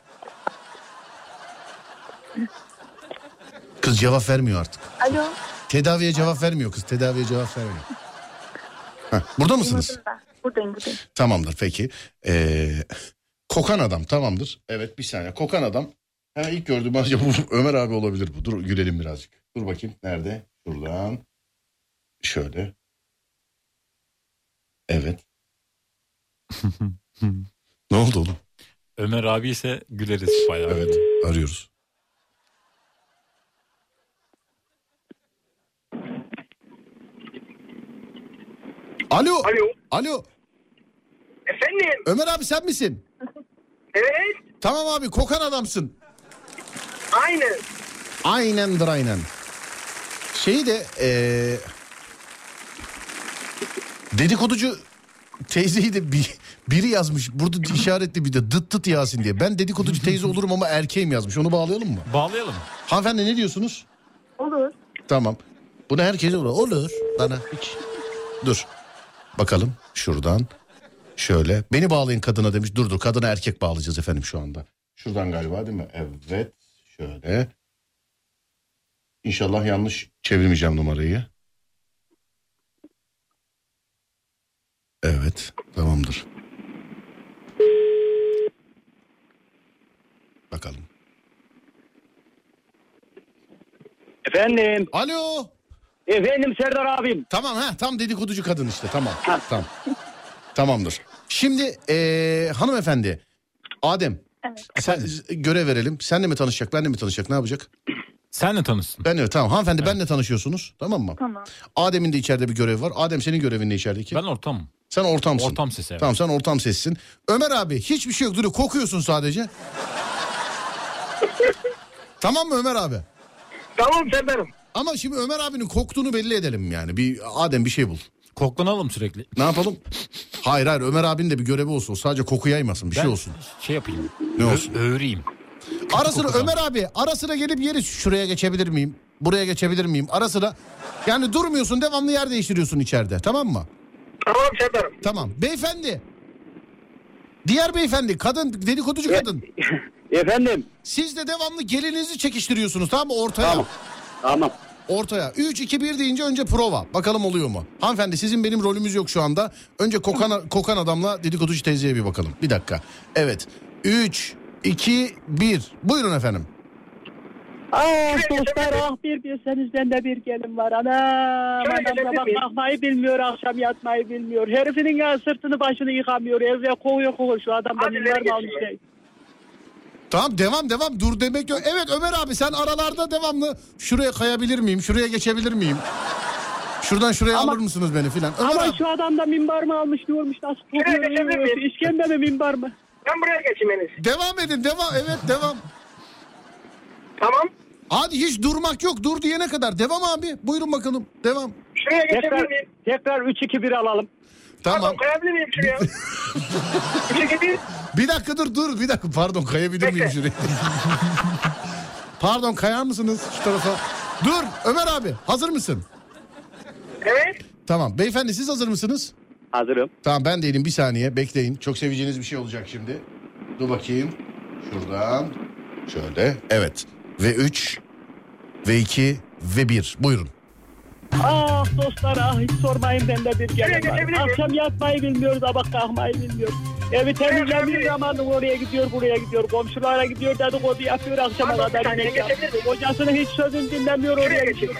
S9: Kız cevap vermiyor artık.
S11: Alo.
S9: Tedaviye cevap vermiyor kız. Tedaviye cevap vermiyor. Heh, burada mısınız?
S11: Duymadım ben. Buradayım buradayım.
S9: Tamamdır peki. Ee, kokan adam tamamdır. Evet bir saniye. Kokan adam. Hemen ilk gördüğüm acaba bu Ömer abi olabilir bu. Dur gülelim birazcık. Dur bakayım nerede? Şuradan. Şöyle. Evet. ne oldu oğlum?
S10: Ömer abi ise güleriz bayağı.
S9: Evet arıyoruz. Alo. Alo. Alo.
S2: Efendim?
S9: Ömer abi sen misin?
S2: Evet.
S9: Tamam abi kokan adamsın.
S2: Aynen.
S9: Aynendir aynen. Şeyi de e, eee dedikoducu teyzeyi de bir, biri yazmış. Burada işaretli bir de dıt dıt Yasin diye. Ben dedikoducu teyze olurum ama erkeğim yazmış. Onu bağlayalım mı?
S10: Bağlayalım.
S9: Hanımefendi ne diyorsunuz?
S11: Olur.
S9: Tamam. Bunu herkese olur. Olur bana hiç. Dur. Bakalım şuradan. Şöyle. Beni bağlayın kadına demiş. Dur dur kadına erkek bağlayacağız efendim şu anda. Şuradan galiba değil mi? Evet. Şöyle. İnşallah yanlış çevirmeyeceğim numarayı. Evet. Tamamdır. Bakalım.
S2: Efendim.
S9: Alo.
S2: Efendim Serdar abim.
S9: Tamam ha tam dedikoducu kadın işte tamam. tamam. Tamamdır. Şimdi eee, hanımefendi Adem sen, görev verelim. Senle mi tanışacak benle mi tanışacak ne yapacak?
S10: Senle tanışsın.
S9: Ben de tamam hanımefendi benle tanışıyorsunuz tamam mı?
S11: Tamam.
S9: Adem'in de içeride bir görevi var. Adem senin görevin ne içerideki? Ben
S10: ortam.
S9: Sen ortamsın.
S10: Ortam sesi, evet.
S9: Tamam sen ortam sessin. Ömer abi hiçbir şey yok duruyor kokuyorsun sadece. tamam mı Ömer abi?
S2: Tamam sen benim.
S9: Ama şimdi Ömer abinin koktuğunu belli edelim yani. Bir Adem bir şey bul.
S10: Koklanalım sürekli.
S9: Ne yapalım? Hayır hayır Ömer abinin de bir görevi olsun. Sadece koku yaymasın bir şey olsun.
S10: Şey yapayım.
S9: Ne olsun?
S10: Öğüreyim.
S9: Ara sıra
S10: kokudan.
S9: Ömer abi ara sıra gelip yeri şuraya geçebilir miyim? Buraya geçebilir miyim? Ara sıra yani durmuyorsun devamlı yer değiştiriyorsun içeride tamam mı?
S2: Tamam Şedar'ım.
S9: Tamam. Beyefendi. Diğer beyefendi kadın dedikoducu kadın.
S2: E, Efendim.
S9: Siz de devamlı gelinizi çekiştiriyorsunuz tamam mı ortaya? Tamam.
S2: Tamam.
S9: Ortaya. 3 2 1 deyince önce prova. Bakalım oluyor mu? Hanımefendi sizin benim rolümüz yok şu anda. Önce kokan kokan adamla dedikoducu teyzeye bir bakalım. Bir dakika. Evet. 3 2 1. Buyurun efendim.
S18: Ah dostlar ah bir bilseniz bende bir gelin var anam.
S2: Şöyle
S18: Anam
S2: gelebilir
S18: sabah
S2: miyim?
S18: kalkmayı bilmiyor akşam yatmayı bilmiyor. Herifinin ya sırtını başını yıkamıyor. Evde kovuyor kovuyor şu adamdan
S2: Hadi
S18: yıllar
S2: nereye
S18: mı almış
S2: geçiyor?
S18: şey.
S9: Tamam devam devam dur demek yok. Evet Ömer abi sen aralarda devamlı şuraya kayabilir miyim? Şuraya geçebilir miyim? Şuradan şuraya alır mısınız beni filan? Ömer
S18: Ama
S9: abi-
S18: şu adam da minbar mı almış diyormuş nasıl
S2: Şuraya
S18: kovuyor.
S2: geçebilir
S18: yürüyor.
S2: miyim?
S18: İşkembe mi minbar mı?
S2: Ben buraya geçeyim Enes.
S9: Devam edin devam evet devam.
S2: Tamam.
S9: Hadi hiç durmak yok dur diyene kadar. Devam abi buyurun bakalım devam.
S2: Şuraya geçebilir
S19: Tekrar,
S2: miyim?
S19: tekrar 3-2-1 alalım.
S9: Tamam.
S2: Pardon kayabilir miyim şuraya? Şuraya gideyim.
S9: Bir dakika dur dur bir dakika pardon kayabilir miyim şuraya? pardon kayar mısınız şu tarafa? Dur Ömer abi hazır mısın?
S2: Evet.
S9: Tamam beyefendi siz hazır mısınız?
S19: Hazırım.
S9: Tamam ben değilim bir saniye bekleyin. Çok seveceğiniz bir şey olacak şimdi. Dur bakayım. Şuradan. Şöyle. Evet. Ve 3 ve 2 ve 1. Buyurun.
S18: Ah dostlar ah hiç sormayın bende bir gelin var. Akşam yatmayı bilmiyor sabah kalkmayı bilmiyor. Evi temizlemiyor zamanı oraya gidiyor buraya gidiyor. Komşulara gidiyor dedikodu yapıyor akşama
S2: Pardon, bir
S18: kadar
S2: saniye,
S18: yemek yapıyor.
S2: geçebilir miyim?
S18: Kocasının hiç sözünü dinlemiyor oraya gidiyor.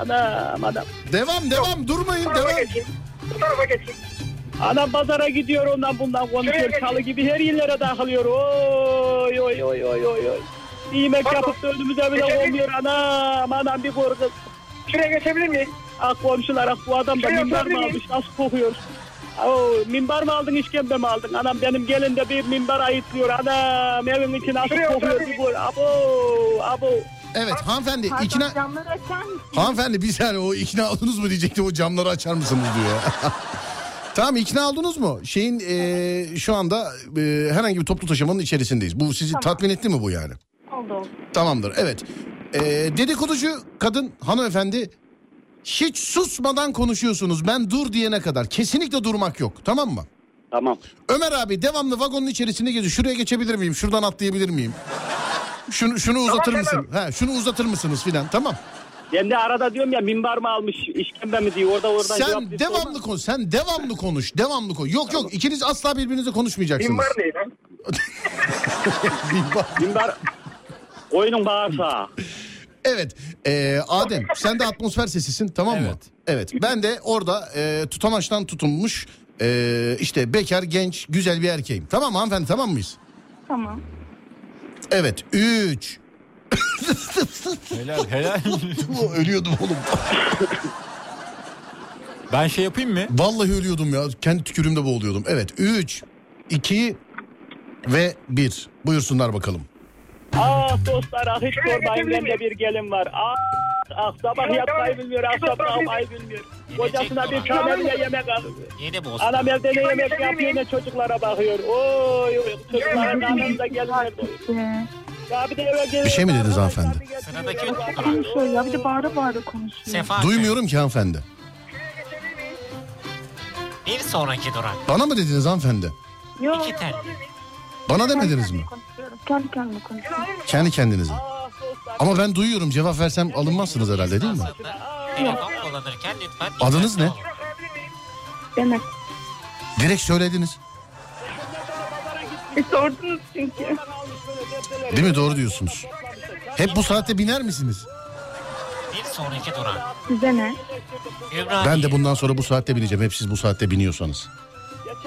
S18: Anam anam.
S9: Devam devam durmayın
S2: Bu
S9: devam.
S2: tarafa geçeyim. Bu tarafa geçeyim.
S18: Anam pazara gidiyor ondan bundan konuşuyor.
S2: Şuraya
S18: Çalı gibi her yerlere takılıyor. Oy oy oy oy oy oy. Bir Yemek
S2: Pardon.
S18: yapıp da önümüze bile
S2: Geçebilir miyim?
S18: olmuyor. Anam anam bir korku.
S2: Şuraya geçebilir miyim?
S18: Ah komşular ah bu adam da
S2: Şuraya
S18: minbar
S2: oturabilir
S18: mı
S2: miyim?
S18: almış nasıl kokuyor. Oo, minbar mı aldın işkembe mi aldın? Anam benim gelin de bir minbar ayıtlıyor. Anam evin içi nasıl
S2: Şuraya
S18: kokuyor.
S2: oturabilir
S18: Bir
S2: miyim?
S18: gol. Abo abo.
S9: Evet hanımefendi
S12: Pardon,
S9: ikna...
S12: camları açar mısın?
S9: Hanımefendi bir saniye o ikna oldunuz mu diyecekti o camları açar mısınız diyor. tamam ikna oldunuz mu? Şeyin eee, şu anda eee, herhangi bir toplu taşımanın içerisindeyiz. Bu sizi tatmin etti mi bu yani?
S12: Oldu.
S9: Tamamdır evet. Eee dedikoducu kadın hanımefendi hiç susmadan konuşuyorsunuz ben dur diyene kadar. Kesinlikle durmak yok tamam mı?
S19: Tamam.
S9: Ömer abi devamlı vagonun içerisinde geziyor. Şuraya geçebilir miyim? Şuradan atlayabilir miyim? Şunu, şunu uzatır mısın? Ha, şunu uzatır mısınız filan tamam.
S19: Ben de arada diyorum ya minbar mı almış işkembe mi diyor orada oradan cevap
S9: Sen
S19: diyor.
S9: devamlı konuş. Sen devamlı konuş. Devamlı konuş. Yok yok ikiniz asla birbirinize konuşmayacaksınız.
S19: Minbar
S2: ne lan?
S9: Minbar.
S19: Minbar koyunun bağırsağı.
S9: Evet. e, Adem sen de atmosfer sesisin tamam mı? Evet. Ben de orada e, tutamaçtan tutunmuş e, işte bekar genç güzel bir erkeğim. Tamam mı hanımefendi tamam mıyız?
S12: Tamam.
S9: Evet. 3
S10: Helal helal.
S9: Ölüyordum oğlum.
S10: Ben şey yapayım mı?
S9: Vallahi ölüyordum ya. Kendi tükürüğümde boğuluyordum. Evet. 3 2 ve 1. Buyursunlar bakalım.
S18: Ah dostlar ah hiç
S2: Şuraya
S18: sormayın
S2: geçebilir
S18: bende bir gelin var. Ah ah sabah
S2: Şuraya
S18: yatmayı
S2: devam et.
S18: bilmiyor. Akşam
S2: Şuraya
S18: kalkmayı
S2: devam
S18: bilmiyor. Kocasına bir
S2: Şuraya
S18: tane
S2: devam et.
S18: bile yemek al.
S2: Yine
S18: Anam evde ne
S2: Şuraya geçebilir
S18: yemek yapıyor
S2: miyim?
S18: ne çocuklara bakıyor. Oy oy çocuklara da gelinler doyuyor. Ya bir de eve
S9: Bir şey mi
S18: geliyorlar,
S9: dediniz hanımefendi?
S18: Sıradaki
S20: Konuşuyor ya bir de bağıra bağıra konuşuyor.
S9: Duymuyorum ki hanımefendi.
S17: Bir sonraki durak.
S9: Bana mı dediniz hanımefendi?
S20: Yok.
S17: İki tel.
S9: Bana demediniz mi?
S20: Kendi kendine konuşuyor.
S9: Kendi kendinize. Ama ben duyuyorum cevap versem alınmazsınız herhalde değil mi?
S17: Telefon kullanırken lütfen...
S9: Adınız ne?
S20: Demek.
S9: Direkt söylediniz.
S20: E, sordunuz çünkü.
S9: Değil mi doğru diyorsunuz. Hep bu saatte biner misiniz?
S17: Bir sonraki durak.
S20: Size ne?
S17: Ümraniye.
S9: Ben de bundan sonra bu saatte bineceğim. Hep siz bu saatte biniyorsanız.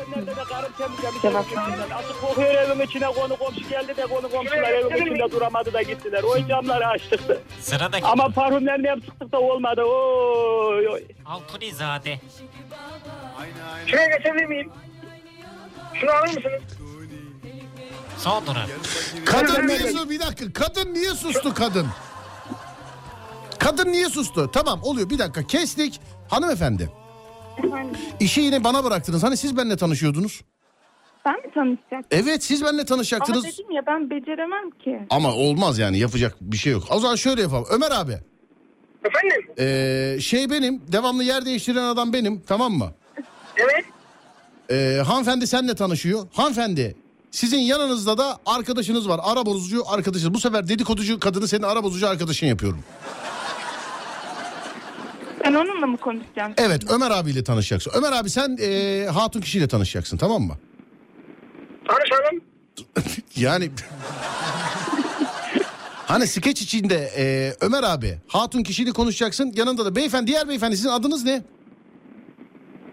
S18: Geçenlerde de karım temizlemiş. Açık kokuyor evimin içine konu komşu geldi de konu komşular evimin içinde duramadı da gittiler. O camları açtık da.
S17: Sıradaki
S18: Ama parfümlerini hep sıktık da olmadı. Oy oy.
S17: Altunizade.
S2: Şuraya geçebilir miyim? Şunu alır mısınız?
S17: Son durak.
S9: Kadın niye sustu? Bir dakika. Kadın niye sustu kadın? Kadın niye sustu? Tamam oluyor bir dakika kestik. Hanımefendi işi yine bana bıraktınız. Hani siz benimle tanışıyordunuz?
S20: Ben mi tanışacaktım?
S9: Evet siz benimle E, tanışacaktınız.
S20: Ama dedim ya ben beceremem ki.
S9: Ama olmaz yani yapacak bir şey yok. O zaman şöyle yapalım. Ömer abi.
S2: Efendim?
S9: Ee, şey benim devamlı yer değiştiren adam benim tamam mı?
S2: Evet.
S9: Ee, hanımefendi senle tanışıyor. Hanımefendi sizin yanınızda da arkadaşınız var. Ara bozucu arkadaşınız. Bu sefer dedikoducu kadını senin ara bozucu arkadaşın yapıyorum.
S20: Ben onunla mı konuşacağım?
S9: Evet Ömer abiyle tanışacaksın. Ömer abi sen ee, hatun kişiyle tanışacaksın tamam mı?
S2: Tanışalım.
S9: Yani hani skeç içinde e, Ömer abi hatun kişiyle konuşacaksın yanında da beyefendi diğer beyefendi sizin adınız ne?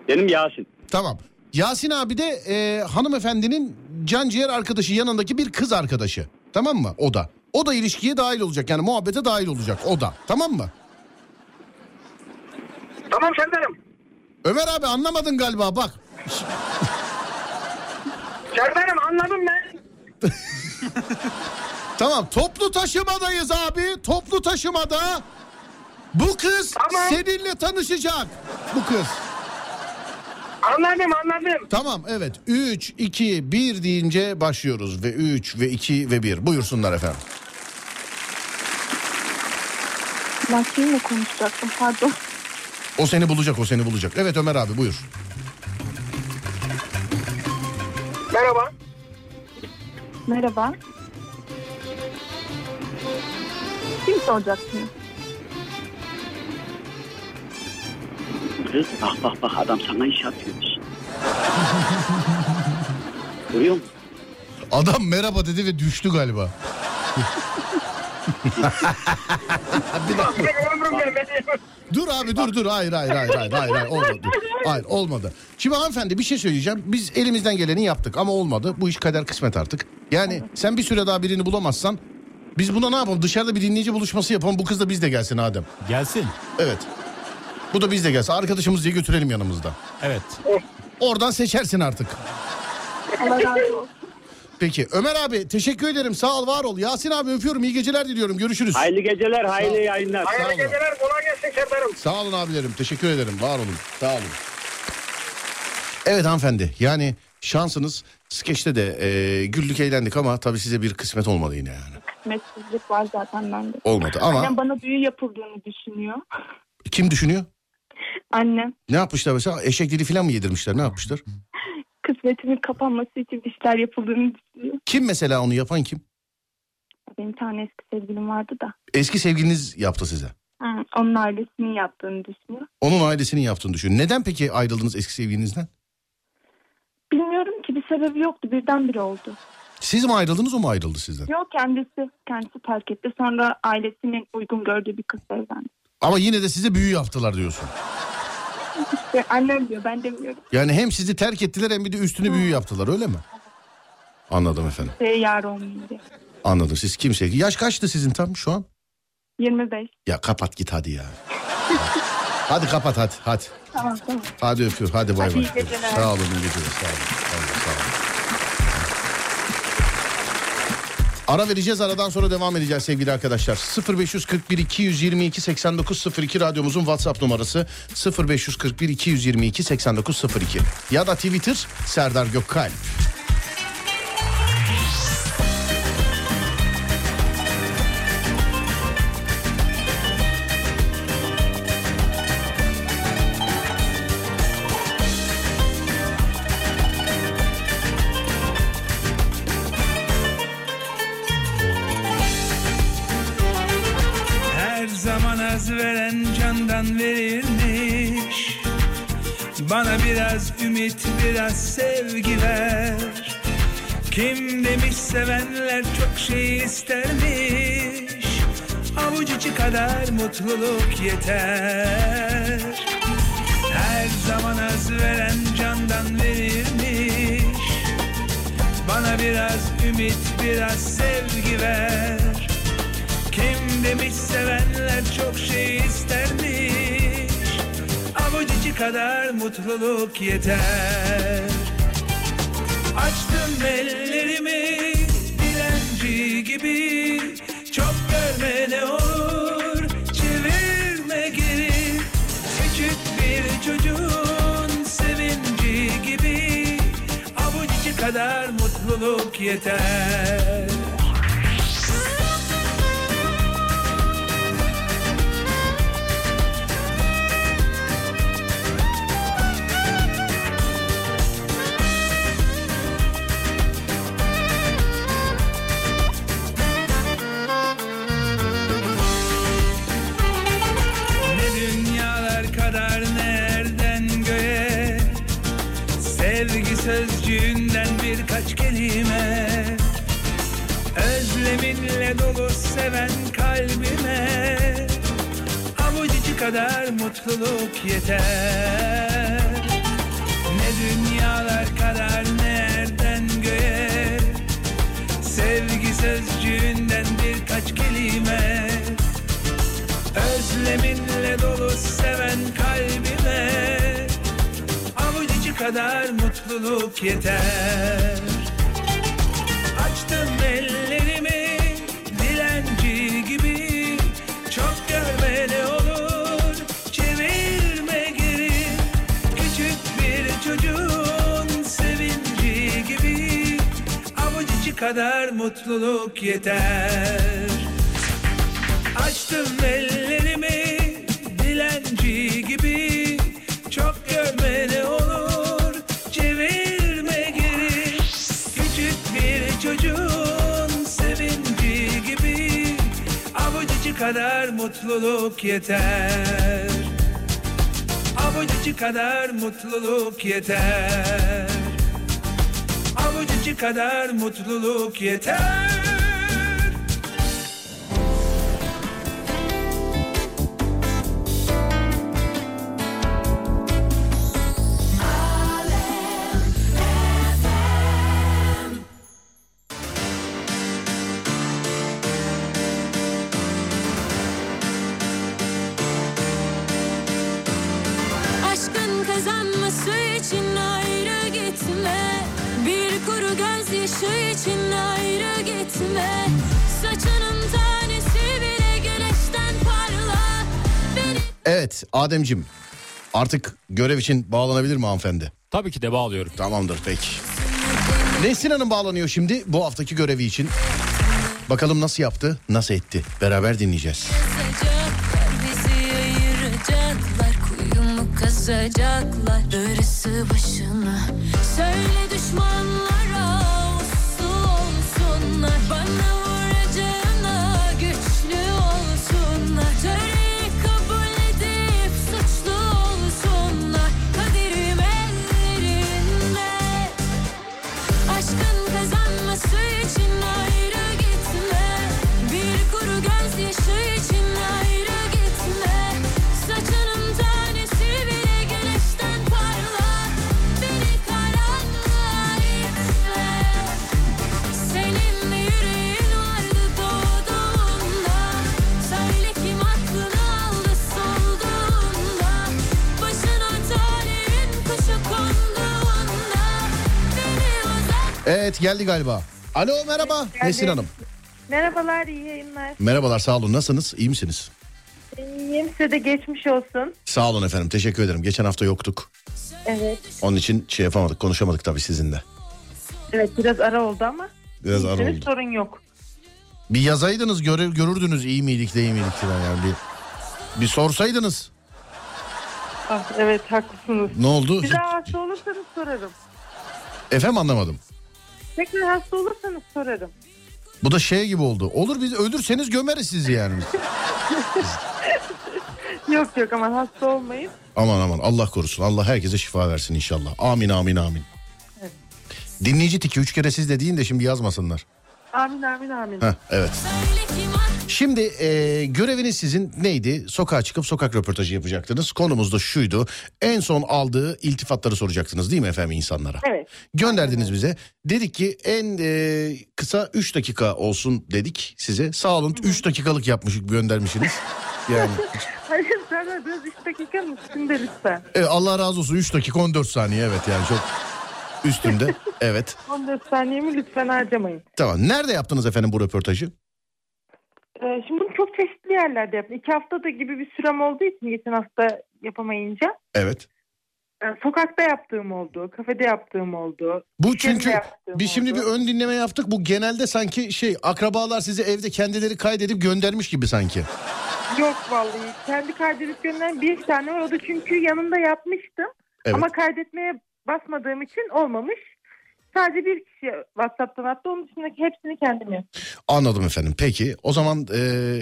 S19: Benim Yasin.
S9: Tamam. Yasin abi de e, hanımefendinin can ciğer arkadaşı yanındaki bir kız arkadaşı. Tamam mı? O da. O da ilişkiye dahil olacak yani muhabbete dahil olacak o da. Tamam mı?
S2: Tamam Serdar'ım.
S9: Ömer abi anlamadın galiba bak.
S2: Serdar'ım anladım ben.
S9: Tamam toplu taşımadayız abi. Toplu taşımada bu kız seninle tanışacak. Bu kız.
S2: Anladım anladım.
S9: Tamam evet 3 2 1 deyince başlıyoruz ve 3 ve 2 ve 1 buyursunlar efendim.
S20: Ben seninle konuşacaktım pardon.
S9: O seni bulacak o seni bulacak. Evet Ömer abi buyur.
S2: Merhaba.
S20: Merhaba. Kim soracaksınız?
S4: Kız bak bak bak adam sana iş atıyormuş. Görüyor musun?
S9: Adam merhaba dedi ve düştü galiba. Bir dakika. Dur abi dur dur hayır hayır hayır hayır hayır, hayır olmadı. Hayır olmadı. Şimdi hanımefendi bir şey söyleyeceğim. Biz elimizden geleni yaptık ama olmadı. Bu iş kader kısmet artık. Yani sen bir süre daha birini bulamazsan biz buna ne yapalım? Dışarıda bir dinleyici buluşması yapalım. Bu kız da biz de gelsin Adem. Gelsin. Evet. Bu da biz de gelsin. Arkadaşımız diye götürelim yanımızda. Evet. Oradan seçersin artık.
S20: Allah razı olsun.
S9: Peki Ömer abi teşekkür ederim. Sağ ol var ol. Yasin abi öpüyorum. İyi geceler diliyorum. Görüşürüz.
S19: Hayırlı geceler, hayırlı
S9: Sağ ol.
S19: yayınlar.
S9: Sağ olun.
S2: Geceler kolay gelsin Serdar'ım.
S9: Sağ olun abilerim. Teşekkür ederim. Var olun. Sağ olun. Evet hanımefendi. Yani şansınız skeçte de e, güldük eğlendik ama tabii size bir kısmet olmadı yine yani.
S20: Kısmetsizlik var zaten bende.
S9: Olmadı ama-
S20: Annem bana büyü yapıldığını düşünüyor.
S9: Kim düşünüyor?
S20: Annem
S9: Ne yapmışlar mesela? Eşek dili falan mı yedirmişler? Ne yapmışlar?
S20: kısmetimin kapanması için bir şeyler yapıldığını düşünüyor.
S9: Kim mesela onu yapan kim?
S20: Benim bir tane eski sevgilim vardı da.
S9: Eski sevgiliniz yaptı size.
S20: Hı, onun ailesinin yaptığını düşünüyor.
S9: Onun ailesinin yaptığını düşün. Neden peki ayrıldınız eski sevgilinizden?
S20: Bilmiyorum ki bir sebebi yoktu birdenbire oldu.
S9: Siz mi ayrıldınız o mu ayrıldı sizden?
S20: Yok kendisi kendisi fark etti. Sonra ailesinin uygun gördüğü bir kızla evlendi.
S9: Ama yine de size büyü yaptılar diyorsun.
S20: İşte annem diyor ben demiyorum.
S9: Yani hem sizi terk ettiler hem bir de üstüne büyü yaptılar öyle mi? Anladım efendim.
S20: Şeye Şey, yar olmayayım diye.
S9: Anladım siz kimseye. Yaş kaçtı sizin tam şu an?
S20: 25.
S9: Ya kapat git hadi ya. hadi kapat hadi hadi.
S20: Tamam tamam.
S9: Hadi öpüyorum hadi bay
S20: Hadi
S9: bay.
S20: iyi geceler.
S9: Sağ olun iyi geceler sağ olun. Sağ olun, sağ olun. Ara vereceğiz aradan sonra devam edeceğiz sevgili arkadaşlar. 0541 222 8902 radyomuzun WhatsApp numarası 0541 222 8902 ya da Twitter Serdar Gökkalp.
S21: Her zaman az veren candan verilmiş Bana biraz ümit biraz sevgi ver Kim demiş sevenler çok şey istermiş Avuç içi kadar mutluluk yeter Her zaman az veren candan verilmiş Bana biraz ümit biraz sevgi ver Kim demiş sevenler çok şey istermiş Avucucu kadar mutluluk yeter Açtım ellerimi dilenci gibi Çok görme ne olur çevirme geri Küçük bir çocuğun sevinci gibi Avucucu kadar mutluluk yeter Ne dünyalar kadar nereden göğe Sevgi sözcüğünden birkaç kelime Özleminle dolu seven kalbime Avucucu kadar mutluluk yeter Ne dünyalar kadar nereden göğe Sevgi sözcüğünden birkaç kelime Özleminle dolu seven kalbime Avucucu kadar mutluluk yeter Açtım ellerimi dilenci gibi Çok görme ne olur çevirme geri Küçük bir çocuğun sevinci gibi Avucucu kadar mutluluk yeter Açtım ellerimi dilenci gibi Çok görme ne olur çevirme geri Küçük bir çocuğun sevinci gibi Avucucu kadar mutluluk yeter Avucucu kadar mutluluk yeter Avucucu kadar mutluluk yeter
S3: Aşkın kazanması için ayrı gitme Bir kuru gözyaşı için ayrı gitme Saçının tanesi bile güneşten parla Beni
S9: Evet Ademcim artık görev için bağlanabilir mi hanımefendi?
S10: Tabii ki de bağlıyorum.
S9: Tamamdır peki. Nesin Hanım bağlanıyor şimdi bu haftaki görevi için. Bakalım nasıl yaptı, nasıl etti? Beraber dinleyeceğiz.
S3: Kazacaklar bizi ayıracaklar Kuyumu kazacaklar Darısı başına Söyle düşmanlara uslu olsunlar Bana vuracağına güçlü olsunlar Töreyi kabul edip suçlu olsunlar Kaderim ellerinde Aşkın kazanması için ayrı gitme Bir kuru gözyaşı için ayrı gitme Saçının tanesi bile güneşten parla Beni karanlığa itme Senin de yüreğin vardı doğduğunda Söyle kim aklını aldı solduğunda Başına talihin kuşu konduğunda Beni uzak
S9: Evet geldi galiba. Alo merhaba Nesin Hanım.
S22: Merhabalar, iyi yayınlar.
S9: Merhabalar sağ olun nasılsınız? İyi misiniz?
S22: İyiyim, size de geçmiş olsun.
S9: Sağ olun efendim teşekkür ederim. Geçen hafta yoktuk.
S22: Evet,
S9: Onun için şey yapamadık konuşamadık tabii sizinle.
S22: evet biraz ara oldu ama.
S9: Biraz ara
S22: iyisiniz,
S9: oldu.
S22: Sorun yok.
S9: Bir yazaydınız göre, görürdünüz iyi miydik değil miydik falan yani bir, bir sorsaydınız.
S22: Ah, evet, haklısınız.
S9: Ne oldu?
S22: Bir daha hasta olursanız sorarım.
S9: Efendim anlamadım.
S22: Tekrar hasta olursanız sorarım.
S9: Bu da şey gibi oldu. Olur biz ölürseniz gömeriz sizi yani.
S22: yok yok ama hasta olmayın.
S9: Aman aman Allah korusun. Allah herkese şifa versin inşallah. Amin amin amin.
S22: Evet.
S9: Dinleyici tiki üç kere siz dediğin de şimdi yazmasınlar.
S22: Amin amin amin.
S9: Heh, evet. Şimdi e, göreviniz sizin neydi? Sokağa çıkıp sokak röportajı yapacaktınız. Konumuz da şuydu. En son aldığı iltifatları soracaktınız değil mi efendim insanlara?
S22: Evet.
S9: Gönderdiniz bize. Dedik ki en e, kısa 3 dakika olsun dedik size. Sağ olun 3 dakikalık yapmış göndermişsiniz. Yani
S22: Hayır Serdar biraz 3 dakikanın üstünde lütfen.
S9: e, Allah razı olsun 3 dakika 14 saniye evet yani çok üstünde. Evet.
S22: 14 saniyemi lütfen harcamayın.
S9: Tamam. Nerede yaptınız efendim bu röportajı?
S22: Ee, şimdi bunu çok çeşitli yerlerde yaptım. İki haftada gibi bir sürem olduğu için geçen hafta yapamayınca.
S9: Evet.
S22: e, Sokakta yaptığım oldu, kafede yaptığım oldu.
S9: Bu
S22: iş yerinde
S9: çünkü
S22: yaptığım
S9: biz şimdi
S22: oldu.
S9: bir ön dinleme yaptık. Bu genelde sanki şey akrabalar sizi evde kendileri kaydedip göndermiş gibi sanki.
S22: Yok vallahi kendi kaydedip gönderen bir tane var. O da çünkü yanımda yapmıştım.
S9: Evet.
S22: Ama kaydetmeye basmadığım için olmamış. Sadece bir kişi WhatsApp'tan attı. Onun dışındaki hepsini kendim yaptım.
S9: Anladım efendim. Peki o zaman e,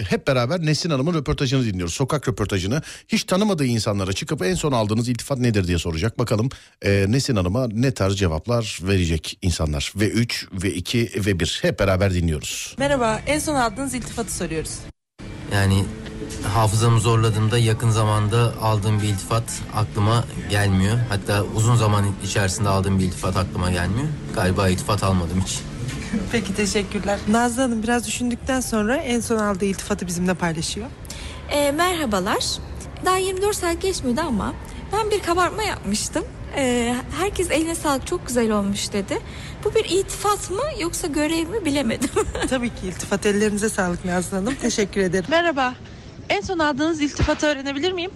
S9: hep beraber Nesin Hanım'ın röportajını dinliyoruz. Sokak röportajını. Hiç tanımadığı insanlara çıkıp en son aldığınız iltifat nedir diye soracak. Bakalım e, Nesin Hanım'a ne tarz cevaplar verecek insanlar. Ve 3 ve 2 ve 1 hep beraber dinliyoruz.
S23: Merhaba, en son aldığınız iltifatı soruyoruz.
S24: Yani hafızamı zorladığımda yakın zamanda aldığım bir iltifat aklıma gelmiyor. Hatta uzun zaman içerisinde aldığım bir iltifat aklıma gelmiyor. Galiba iltifat almadım hiç.
S23: Peki teşekkürler. Nazlı Hanım biraz düşündükten sonra en son aldığı iltifatı bizimle paylaşıyor.
S25: Ee, merhabalar. Daha 24 saat geçmedi ama ben bir kabartma yapmıştım. Ee, herkes eline sağlık çok güzel olmuş dedi. Bu bir itifat mı yoksa görev mi bilemedim.
S23: Tabii ki iltifat ellerinize sağlık Nazlı Hanım. Teşekkür ederim. Merhaba. En son aldığınız iltifatı öğrenebilir miyim?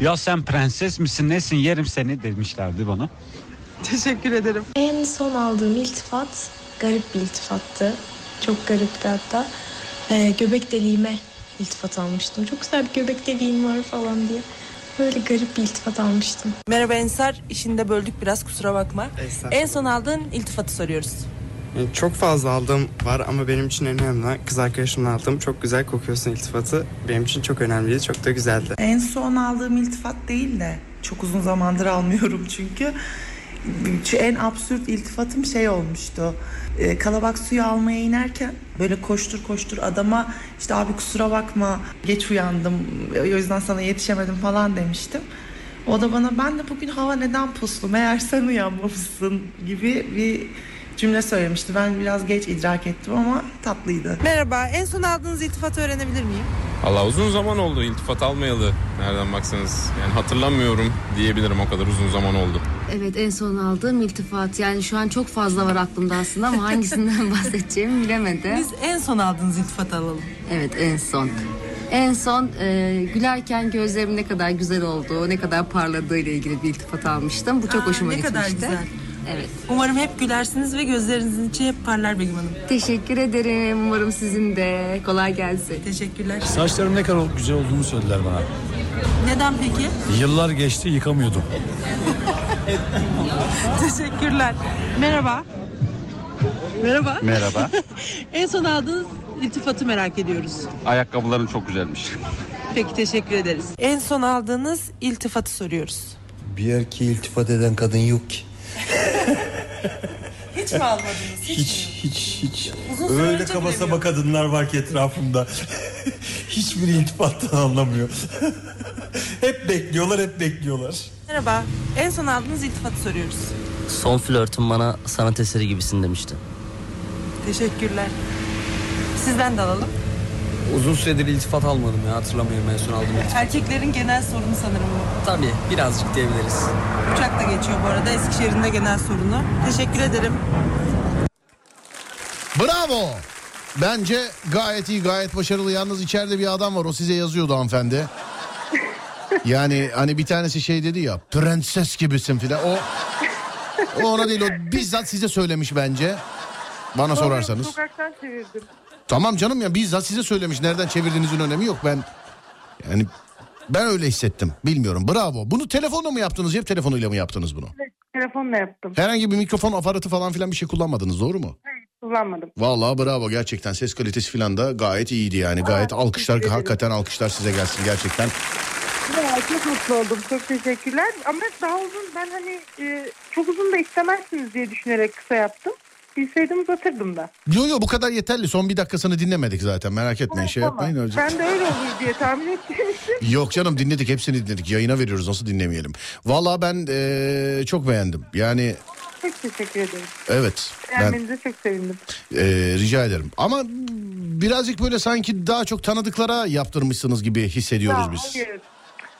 S17: Ya sen prenses misin nesin yerim seni demişlerdi bana.
S23: Teşekkür ederim.
S26: En son aldığım iltifat garip bir iltifattı. Çok garipti hatta. Ee, göbek deliğime iltifat almıştım. Çok güzel bir göbek deliğim var falan diye. Böyle garip bir iltifat almıştım.
S23: Merhaba Ensar, işinde böldük biraz kusura bakma.
S27: Estağfurullah.
S23: En son aldığın iltifatı soruyoruz.
S27: Yani E, Çok fazla aldığım var ama benim için en önemli. Kız arkadaşımla aldığım çok güzel kokuyorsun iltifatı benim için çok önemliydi. Çok da güzeldi.
S28: En son aldığım iltifat değil de çok uzun zamandır almıyorum çünkü. Şu En absürt iltifatım şey olmuştu. Ee, Kalabak suyu almaya inerken böyle koştur koştur adama işte abi kusura bakma geç uyandım o yüzden sana yetişemedim falan demiştim. O da bana ben de bugün hava neden puslu meğer sen uyanmamışsın gibi bir cümle söylemişti. Ben biraz geç idrak ettim ama tatlıydı.
S23: Merhaba, en son aldığınız iltifatı öğrenebilir miyim?
S29: Allah uzun zaman oldu iltifat almayalı nereden baksanız. Yani hatırlamıyorum diyebilirim o kadar uzun zaman oldu.
S5: Evet en son aldığım iltifat. Yani şu an çok fazla var aklımda aslında ama hangisinden bahsedeceğimi bilemedim.
S23: Biz en son aldığınız iltifatı alalım.
S5: Evet en son. En son e, gülerken gözlerim ne kadar güzel olduğu, ne kadar parladığı ile ilgili bir iltifat almıştım. Bu çok
S23: Aa,
S5: hoşuma
S23: ne
S5: gitmişti.
S23: kadar güzel.
S5: Evet.
S23: Umarım hep gülersiniz ve gözlerinizin içi hep parlar Begüm Hanım.
S5: Teşekkür ederim. Umarım sizin de kolay gelsin.
S23: Teşekkürler.
S28: Saçlarım ne kadar güzel olduğunu söylediler bana.
S23: Neden peki?
S28: Yıllar geçti yıkamıyordum.
S23: Teşekkürler. Merhaba. Merhaba.
S5: Merhaba.
S23: en son aldığınız iltifatı merak ediyoruz.
S5: Ayakkabıların çok güzelmiş.
S23: Peki teşekkür ederiz. En son aldığınız iltifatı soruyoruz.
S30: Bir erkeğe iltifat eden kadın yok ki.
S23: Hiç mi almadınız?
S30: Hiç hiç hiç.
S23: Uzun süre
S30: Öyle
S23: önce
S30: kaba
S23: bile
S30: saba kadınlar var ki etrafımda. Hiçbiri iltifattan anlamıyor. hep bekliyorlar hep bekliyorlar.
S23: Merhaba. En son aldığınız iltifatı soruyoruz.
S5: Son flörtüm bana sanat eseri gibisin demişti.
S23: Teşekkürler. Sizden de alalım.
S31: Uzun süredir iltifat almadım ya hatırlamıyorum en son aldığım iltifat.
S23: Erkeklerin genel sorunu sanırım bu.
S31: Tabii birazcık diyebiliriz.
S23: Uçak da geçiyor bu arada. Eskişehir'in de genel sorunu. Teşekkür ederim.
S9: Bravo. Bence gayet iyi gayet başarılı. Yalnız içeride bir adam var o size yazıyordu hanımefendi. Yani hani bir tanesi şey dedi ya prenses gibisin filan. O, o ona değil o bizzat size söylemiş bence. Bana sorarsanız.
S22: Sokaktan çevirdim.
S9: Tamam canım ya bizzat size söylemiş. Nereden çevirdiğinizin önemi yok. Ben yani ben öyle hissettim. Bilmiyorum. Bravo. Bunu telefonla mı yaptınız? Cep telefonuyla mı yaptınız bunu?
S22: Evet, Telefonla yaptım.
S9: Herhangi bir mikrofon aparatı falan filan bir şey kullanmadınız doğru mu?
S22: Kullanmadım.
S9: Vallahi bravo gerçekten ses kalitesi filan da gayet iyiydi yani. Gayet alkışlar hakikaten alkışlar size gelsin gerçekten.
S22: Ya, çok mutlu oldum. Çok teşekkürler. Ama daha uzun ben hani e, çok uzun da istemezsiniz diye düşünerek kısa yaptım. Bilseydim uzatırdım da.
S9: Yo yo bu kadar yeterli. Son bir dakikasını dinlemedik zaten. Merak etmeyin şey
S22: Tamam.
S9: yapmayın. Öyle-
S22: Ben de öyle olur diye tahmin etmiştim.
S9: Yok canım dinledik hepsini dinledik. Yayına veriyoruz nasıl dinlemeyelim. Vallahi ben eee, çok beğendim. Yani
S22: Çok teşekkür ederim.
S9: evet. Ben
S22: Beğenmenize çok sevindim.
S9: eee, rica ederim. Ama birazcık böyle sanki daha çok tanıdıklara yaptırmışsınız gibi hissediyoruz
S22: Ya,
S9: biz.
S22: hayır.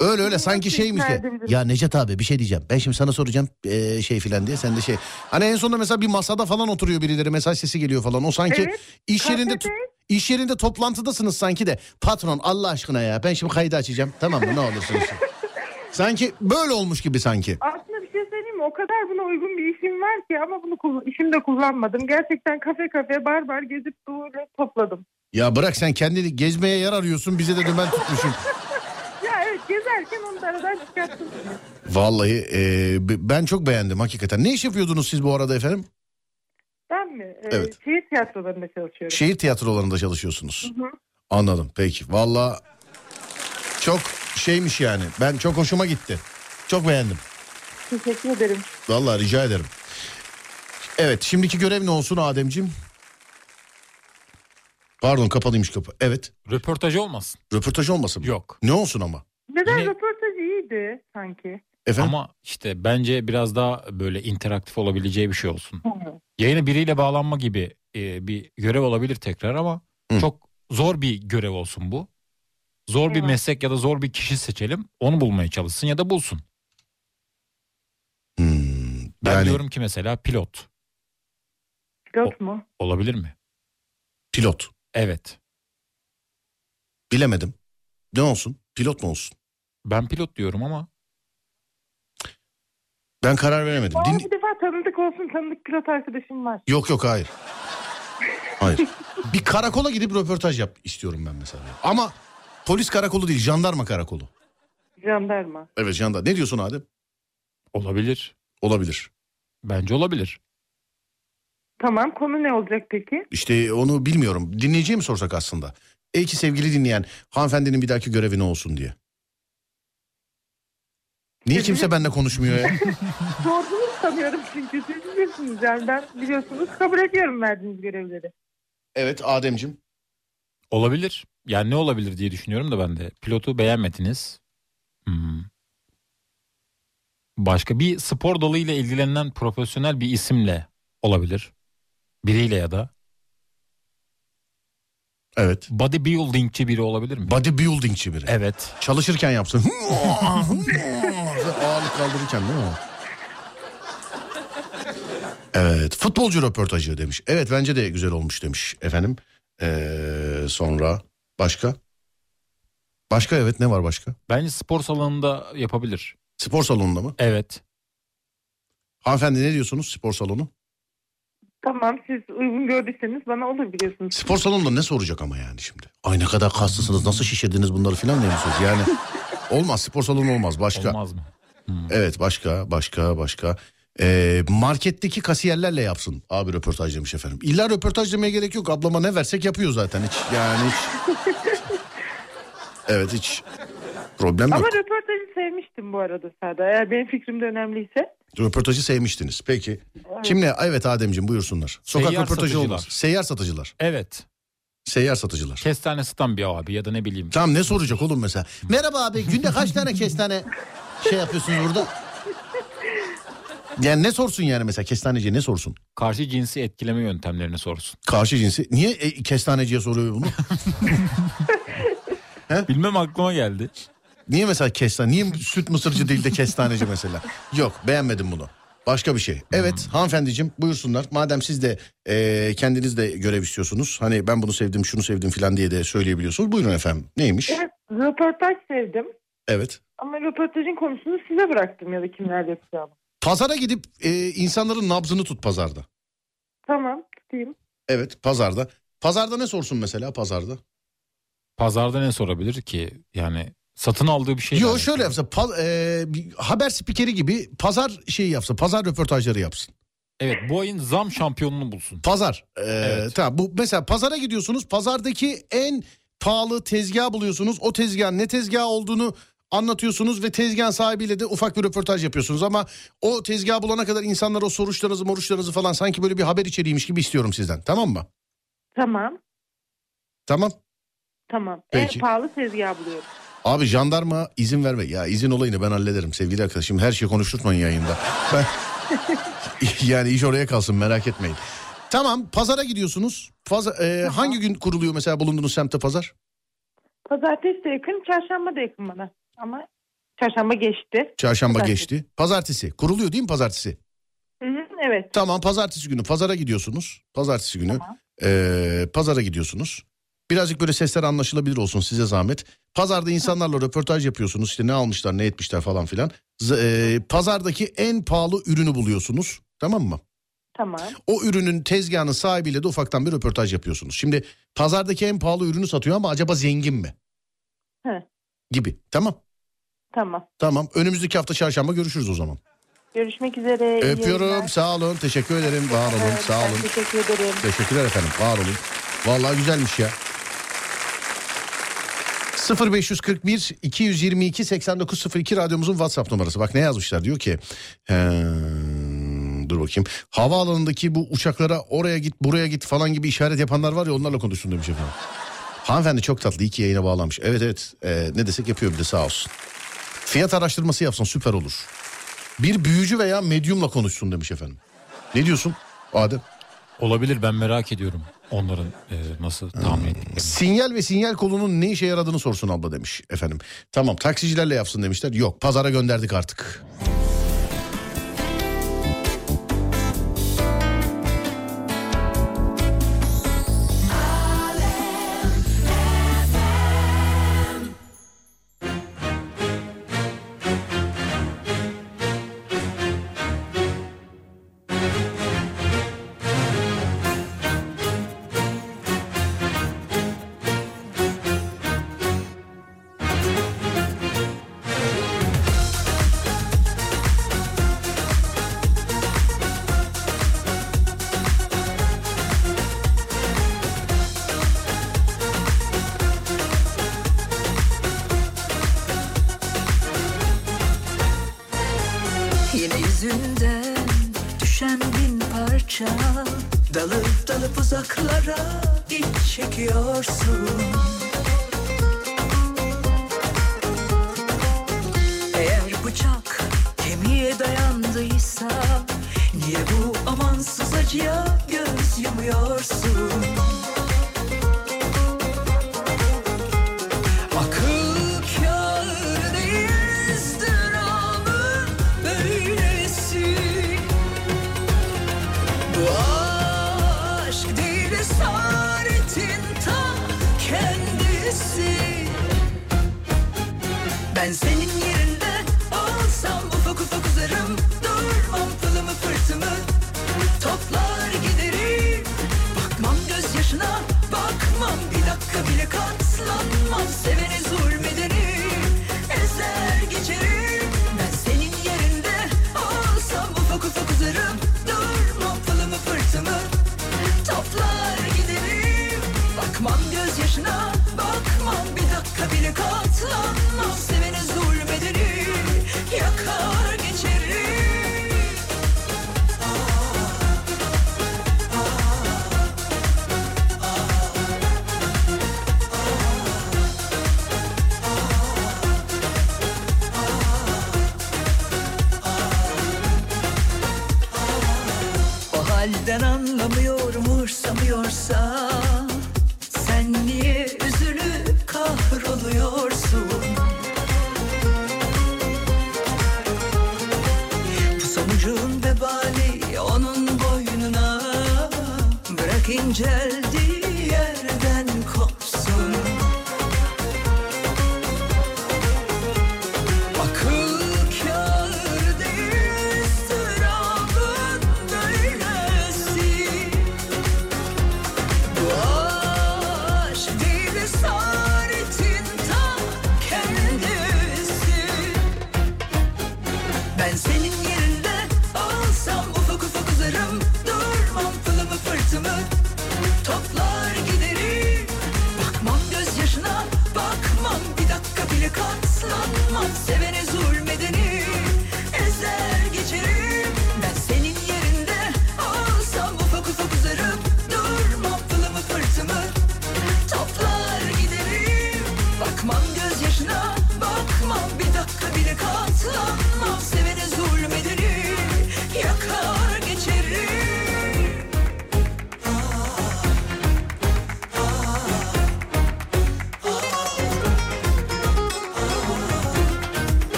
S9: Öyle öyle sanki şeymiş ya.
S22: isterdim.
S9: Ya Necdet abi bir şey diyeceğim. Ben şimdi sana soracağım eee, şey filan diye. Sen de şey. Hani en sonunda mesela bir masada falan oturuyor birileri. Mesaj sesi geliyor falan. O sanki
S22: Evet,
S9: iş yerinde
S22: kafede.
S9: iş yerinde toplantıdasınız sanki de. Patron Allah aşkına ya ben şimdi kaydı açacağım. Tamam mı ne olursunuz. sanki böyle olmuş gibi sanki.
S22: Aslında bir şey söyleyeyim mi? O kadar buna uygun bir işim var ki ama bunu kullan- işimde kullanmadım. Gerçekten kafe kafe bar bar gezip böyle topladım.
S9: Ya bırak sen kendini gezmeye yer arıyorsun. Bize de dümen tutmuşsun.
S22: Ya evet gezerken onu da aradan çıkarttım.
S9: Vallahi eee, b- ben çok beğendim hakikaten. Ne iş yapıyordunuz siz bu arada efendim?
S22: Ben mi? Ee,
S9: Evet.
S22: Şehir tiyatrolarında çalışıyorum.
S9: Şehir tiyatrolarında çalışıyorsunuz.
S22: Hı hı.
S9: Anladım peki. Valla çok şeymiş yani. Ben çok hoşuma gitti. Çok beğendim.
S22: Teşekkür ederim.
S9: Valla rica ederim. Evet şimdiki görev ne olsun Ademciğim? Pardon kapalıymış kapı. Evet.
S10: Röportaj olmasın.
S9: Röportaj olmasın mı?
S10: Yok.
S9: Ne olsun ama?
S22: Neden röportaj iyiydi sanki?
S10: Ama işte bence biraz daha böyle interaktif olabileceği bir şey olsun. Yayına biriyle bağlanma gibi e, bir görev olabilir tekrar ama çok zor bir görev olsun bu. Zor bir meslek ya da zor bir kişi seçelim. Onu bulmaya çalışsın ya da bulsun.
S9: Hmm,
S10: ben diyorum ki mesela pilot
S22: Pilot mu?
S10: olabilir mi?
S9: Pilot.
S10: Evet.
S9: Bilemedim. Ne olsun? Pilot mu olsun?
S10: Ben pilot diyorum ama.
S9: Ben karar veremedim.
S22: Ama
S9: Din-
S22: bir defa tanıdık olsun tanıdık pilot arkadaşım var.
S9: Yok yok hayır. Hayır. Bir karakola gidip röportaj yap istiyorum ben mesela. Ama polis karakolu değil jandarma karakolu.
S22: Jandarma.
S9: Evet jandar. Ne diyorsun Adem?
S10: Olabilir.
S9: Olabilir.
S10: Bence olabilir.
S22: Tamam konu ne olacak peki?
S9: İşte onu bilmiyorum. Dinleyiciye mi sorsak aslında? Ey ki sevgili dinleyen hanımefendinin bir dahaki görevi ne olsun diye. Niye kimse benimle konuşmuyor ya?
S22: Sordunuz sanıyorum çünkü siz bilirsiniz yani ben biliyorsunuz kabul ediyorum verdiğiniz görevleri.
S9: Evet Ademcim.
S10: Olabilir. Yani ne olabilir diye düşünüyorum da ben de. Pilotu beğenmediniz. Hmm. Başka bir spor dalıyla ilgilenen profesyonel bir isimle olabilir. Biriyle ya da.
S9: Evet.
S10: Bodybuildingçi biri olabilir mi?
S9: Bodybuildingçi biri.
S10: Evet.
S9: Çalışırken yapsın. Ağırlık kaldırırken değil mi? Evet futbolcu röportajı demiş. Evet bence de güzel olmuş demiş efendim. Ee, sonra başka? Başka evet ne var başka?
S10: Bence spor salonunda yapabilir.
S9: Spor salonunda mı?
S10: Evet.
S9: Hanımefendi ne diyorsunuz spor salonu?
S22: Tamam siz uygun gördüyseniz bana olur biliyorsunuz.
S9: Spor salonunda ne soracak ama yani şimdi? Ay ne kadar kaslısınız nasıl şişirdiniz bunları filan diye mi soracak? Yani olmaz spor salonu olmaz başka.
S10: Olmaz mı? Hmm.
S9: Evet başka başka başka. Ee, marketteki kasiyerlerle yapsın abi röportaj demiş efendim. İlla röportaj demeye gerek yok. Ablama ne versek yapıyor zaten hiç. Yani hiç. evet hiç problem yok.
S22: Ama röportajı sevmiştim bu arada Sada. Eğer benim fikrim de önemliyse.
S9: Röportajı sevmiştiniz. Peki. Kimle? Evet Ademciğim buyursunlar. Sokak
S10: Seyyar
S9: röportajı
S10: satıcılar.
S9: olmaz. Seyyar satıcılar.
S10: Evet.
S9: Seyyar satıcılar.
S10: Kestane satan bir abi ya da ne bileyim.
S9: Tamam ne soracak oğlum mesela? Merhaba abi günde kaç tane kestane şey yapıyorsunuz burada? Yani ne sorsun yani mesela kestaneciye ne sorsun?
S10: Karşı cinsi etkileme yöntemlerini sorsun.
S9: Karşı cinsi. Niye e, kestaneciye soruyor bunu?
S10: Bilmem aklıma geldi.
S9: Niye mesela kestane? Niye süt mısırcı değil de kestaneci mesela? Yok beğenmedim bunu. Başka bir şey.
S10: Hmm.
S9: Evet hanımefendiciğim buyursunlar. Madem siz de e, kendiniz de görev istiyorsunuz. Hani ben bunu sevdim şunu sevdim filan diye de söyleyebiliyorsunuz. Buyurun efendim. Neymiş?
S22: Evet, röportaj sevdim.
S9: Evet.
S22: Ama röportajın konusunu size bıraktım ya da kimler yapacağımı.
S9: Pazara gidip e, insanların nabzını tut pazarda.
S22: Tamam tutayım.
S9: Evet pazarda. Pazarda ne sorsun mesela pazarda?
S10: Pazarda ne sorabilir ki? Yani satın aldığı bir şey.
S9: Yo şöyle yapsa pa- e, bir haber spikeri gibi pazar şeyi yapsa pazar röportajları yapsın.
S10: Evet bu ayın zam şampiyonunu bulsun.
S9: Pazar. e, Tamam bu mesela pazara gidiyorsunuz pazardaki en pahalı tezgah buluyorsunuz. O tezgahın ne tezgah olduğunu anlatıyorsunuz ve tezgah sahibiyle de ufak bir röportaj yapıyorsunuz ama o tezgah bulana kadar insanlar o soruşlarınızı moruşlarınızı falan sanki böyle bir haber içeriğiymiş gibi istiyorum sizden tamam mı?
S22: Tamam
S9: Tamam.
S22: tamam.
S9: Peki.
S22: En pahalı tezgah buluyorum.
S9: Abi jandarma izin verme. Ya izin olayını ben hallederim sevgili arkadaşım. Her şeyi konuşturtmayın yayında. Ben... yani iş oraya kalsın merak etmeyin. Tamam pazara gidiyorsunuz. Paza- e, hangi gün kuruluyor mesela bulunduğunuz semtte pazar?
S22: Pazartesi de yakın, çarşamba da yakın bana. Ama çarşamba geçti.
S9: Çarşamba
S22: Pazartesi.
S9: geçti. Pazartesi. Kuruluyor değil mi pazartesi?
S22: Hı hı, evet.
S9: Tamam pazartesi günü pazara gidiyorsunuz. Pazartesi günü eee, pazara gidiyorsunuz. Birazcık böyle sesler anlaşılabilir olsun size zahmet. Pazarda insanlarla röportaj yapıyorsunuz. İşte ne almışlar ne etmişler falan filan. Z- eee, pazardaki en pahalı ürünü buluyorsunuz. Tamam mı?
S22: Tamam.
S9: O ürünün tezgahının sahibiyle de ufaktan bir röportaj yapıyorsunuz. Şimdi pazardaki en pahalı ürünü satıyor ama acaba zengin mi?
S22: He,
S9: Gibi. Tamam.
S22: tamam.
S9: Tamam. Önümüzdeki hafta çarşamba görüşürüz o zaman.
S22: Görüşmek üzere. iyi
S9: Öpüyorum.
S22: yayınlar.
S9: Sağ olun. Teşekkür ederim. Var olun.
S22: Evet,
S9: Sağ
S22: ben
S9: olun.
S22: Teşekkür ederim.
S9: Teşekkürler efendim. Var olun. Vallahi güzelmiş ya. 0541 222 8902 radyomuzun WhatsApp numarası. Bak ne yazmışlar diyor ki. eee, dur bakayım. Havaalanındaki bu uçaklara oraya git buraya git falan gibi işaret yapanlar var ya onlarla konuşsun demiş efendim. Hanımefendi çok tatlı. İyi ki yayına bağlanmış. Evet evet. Eee, ne desek yapıyor bir de sağ olsun. Fiyat araştırması yapsın süper olur. Bir büyücü veya medyumla konuşsun demiş efendim. Ne diyorsun Adem?
S10: Olabilir ben merak ediyorum onların e, nasıl tahmin ettiklerini.
S9: Hmm. Sinyal ve sinyal kolunun ne işe yaradığını sorsun abla demiş efendim. Tamam taksicilerle yapsın demişler. Yok pazara gönderdik artık.
S6: Yine yüzünden düşen bin parça Dalıp dalıp uzaklara iç çekiyorsun Eğer bıçak kemiğe dayandıysa Niye bu amansız acıya göz yumuyorsun Akıl kâr değil ızdırabın böylesi Bu aşk değil esaretin tam kendisi Ben senin yerinde olsam ufak ufak uzarım Durmam pılımı fırtımı toplar giderim Bakmam gözyaşına bakmam bir dakika bile katlanmam Seveni zulmederim ezer geçerim Ben senin yerinde olsam ufak ufak uzarım Durmam pılımı fırtımı toplar giderim Bakmam gözyaşına bakmam bir dakika bile katlanmam Seveni zulmederim yakar geçerim O halden anlamıyormuş sanıyorsa Sen niye üzülüp kahroluyorsun Bu sonucun vebali onun boynuna Bırak inceldiği yerden kopsun Akıl kâr değil ızdırabın böylesi Bu aşk değil esaretin tam kendisi Ben senin yerinde olsam ufak ufak uzarım Durmam pılımı fırtımı toplar giderim Bakmam gözyaşına bakmam bir dakika bile katlanmam ah,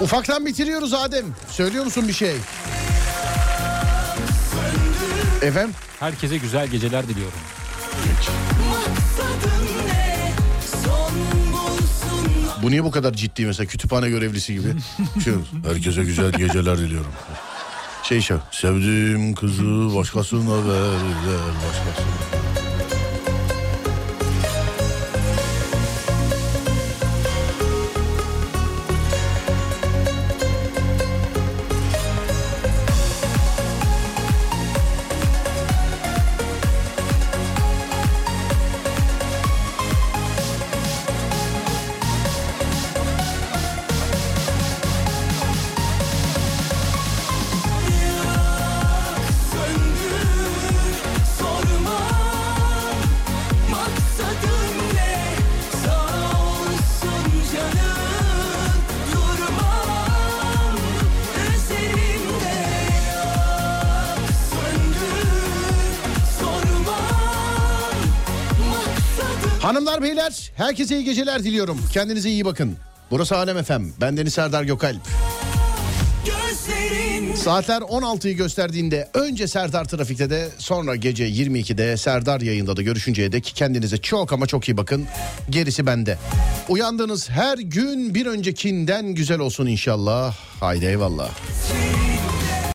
S9: Ufaktan bitiriyoruz Adem. Söylüyor musun bir şey? Efendim?
S10: Herkese güzel geceler diliyorum.
S6: Maksadın ne? Son bulsun
S9: Bu niye bu kadar ciddi mesela kütüphane görevlisi gibi? Şey, herkese güzel geceler diliyorum. Şey şey, sevdiğim kızı başkasına ver, ver başkasına.
S6: sorma Maksadın ne? Sağ olsun canım Durmam üzerinde Yok söndür sorma Maksadın
S9: Hanımlar beyler herkese iyi geceler diliyorum. Kendinize iyi bakın. Burası Alem FM. Ben Deniz Serdar Gökalp. Saatler 16'yı gösterdiğinde önce Serdar Trafik'te de sonra gece 22'de Serdar yayında da görüşünceye dek kendinize çok ama çok iyi bakın. Gerisi bende. Uyandığınız her gün bir öncekinden güzel olsun inşallah. Haydi eyvallah.
S6: Seni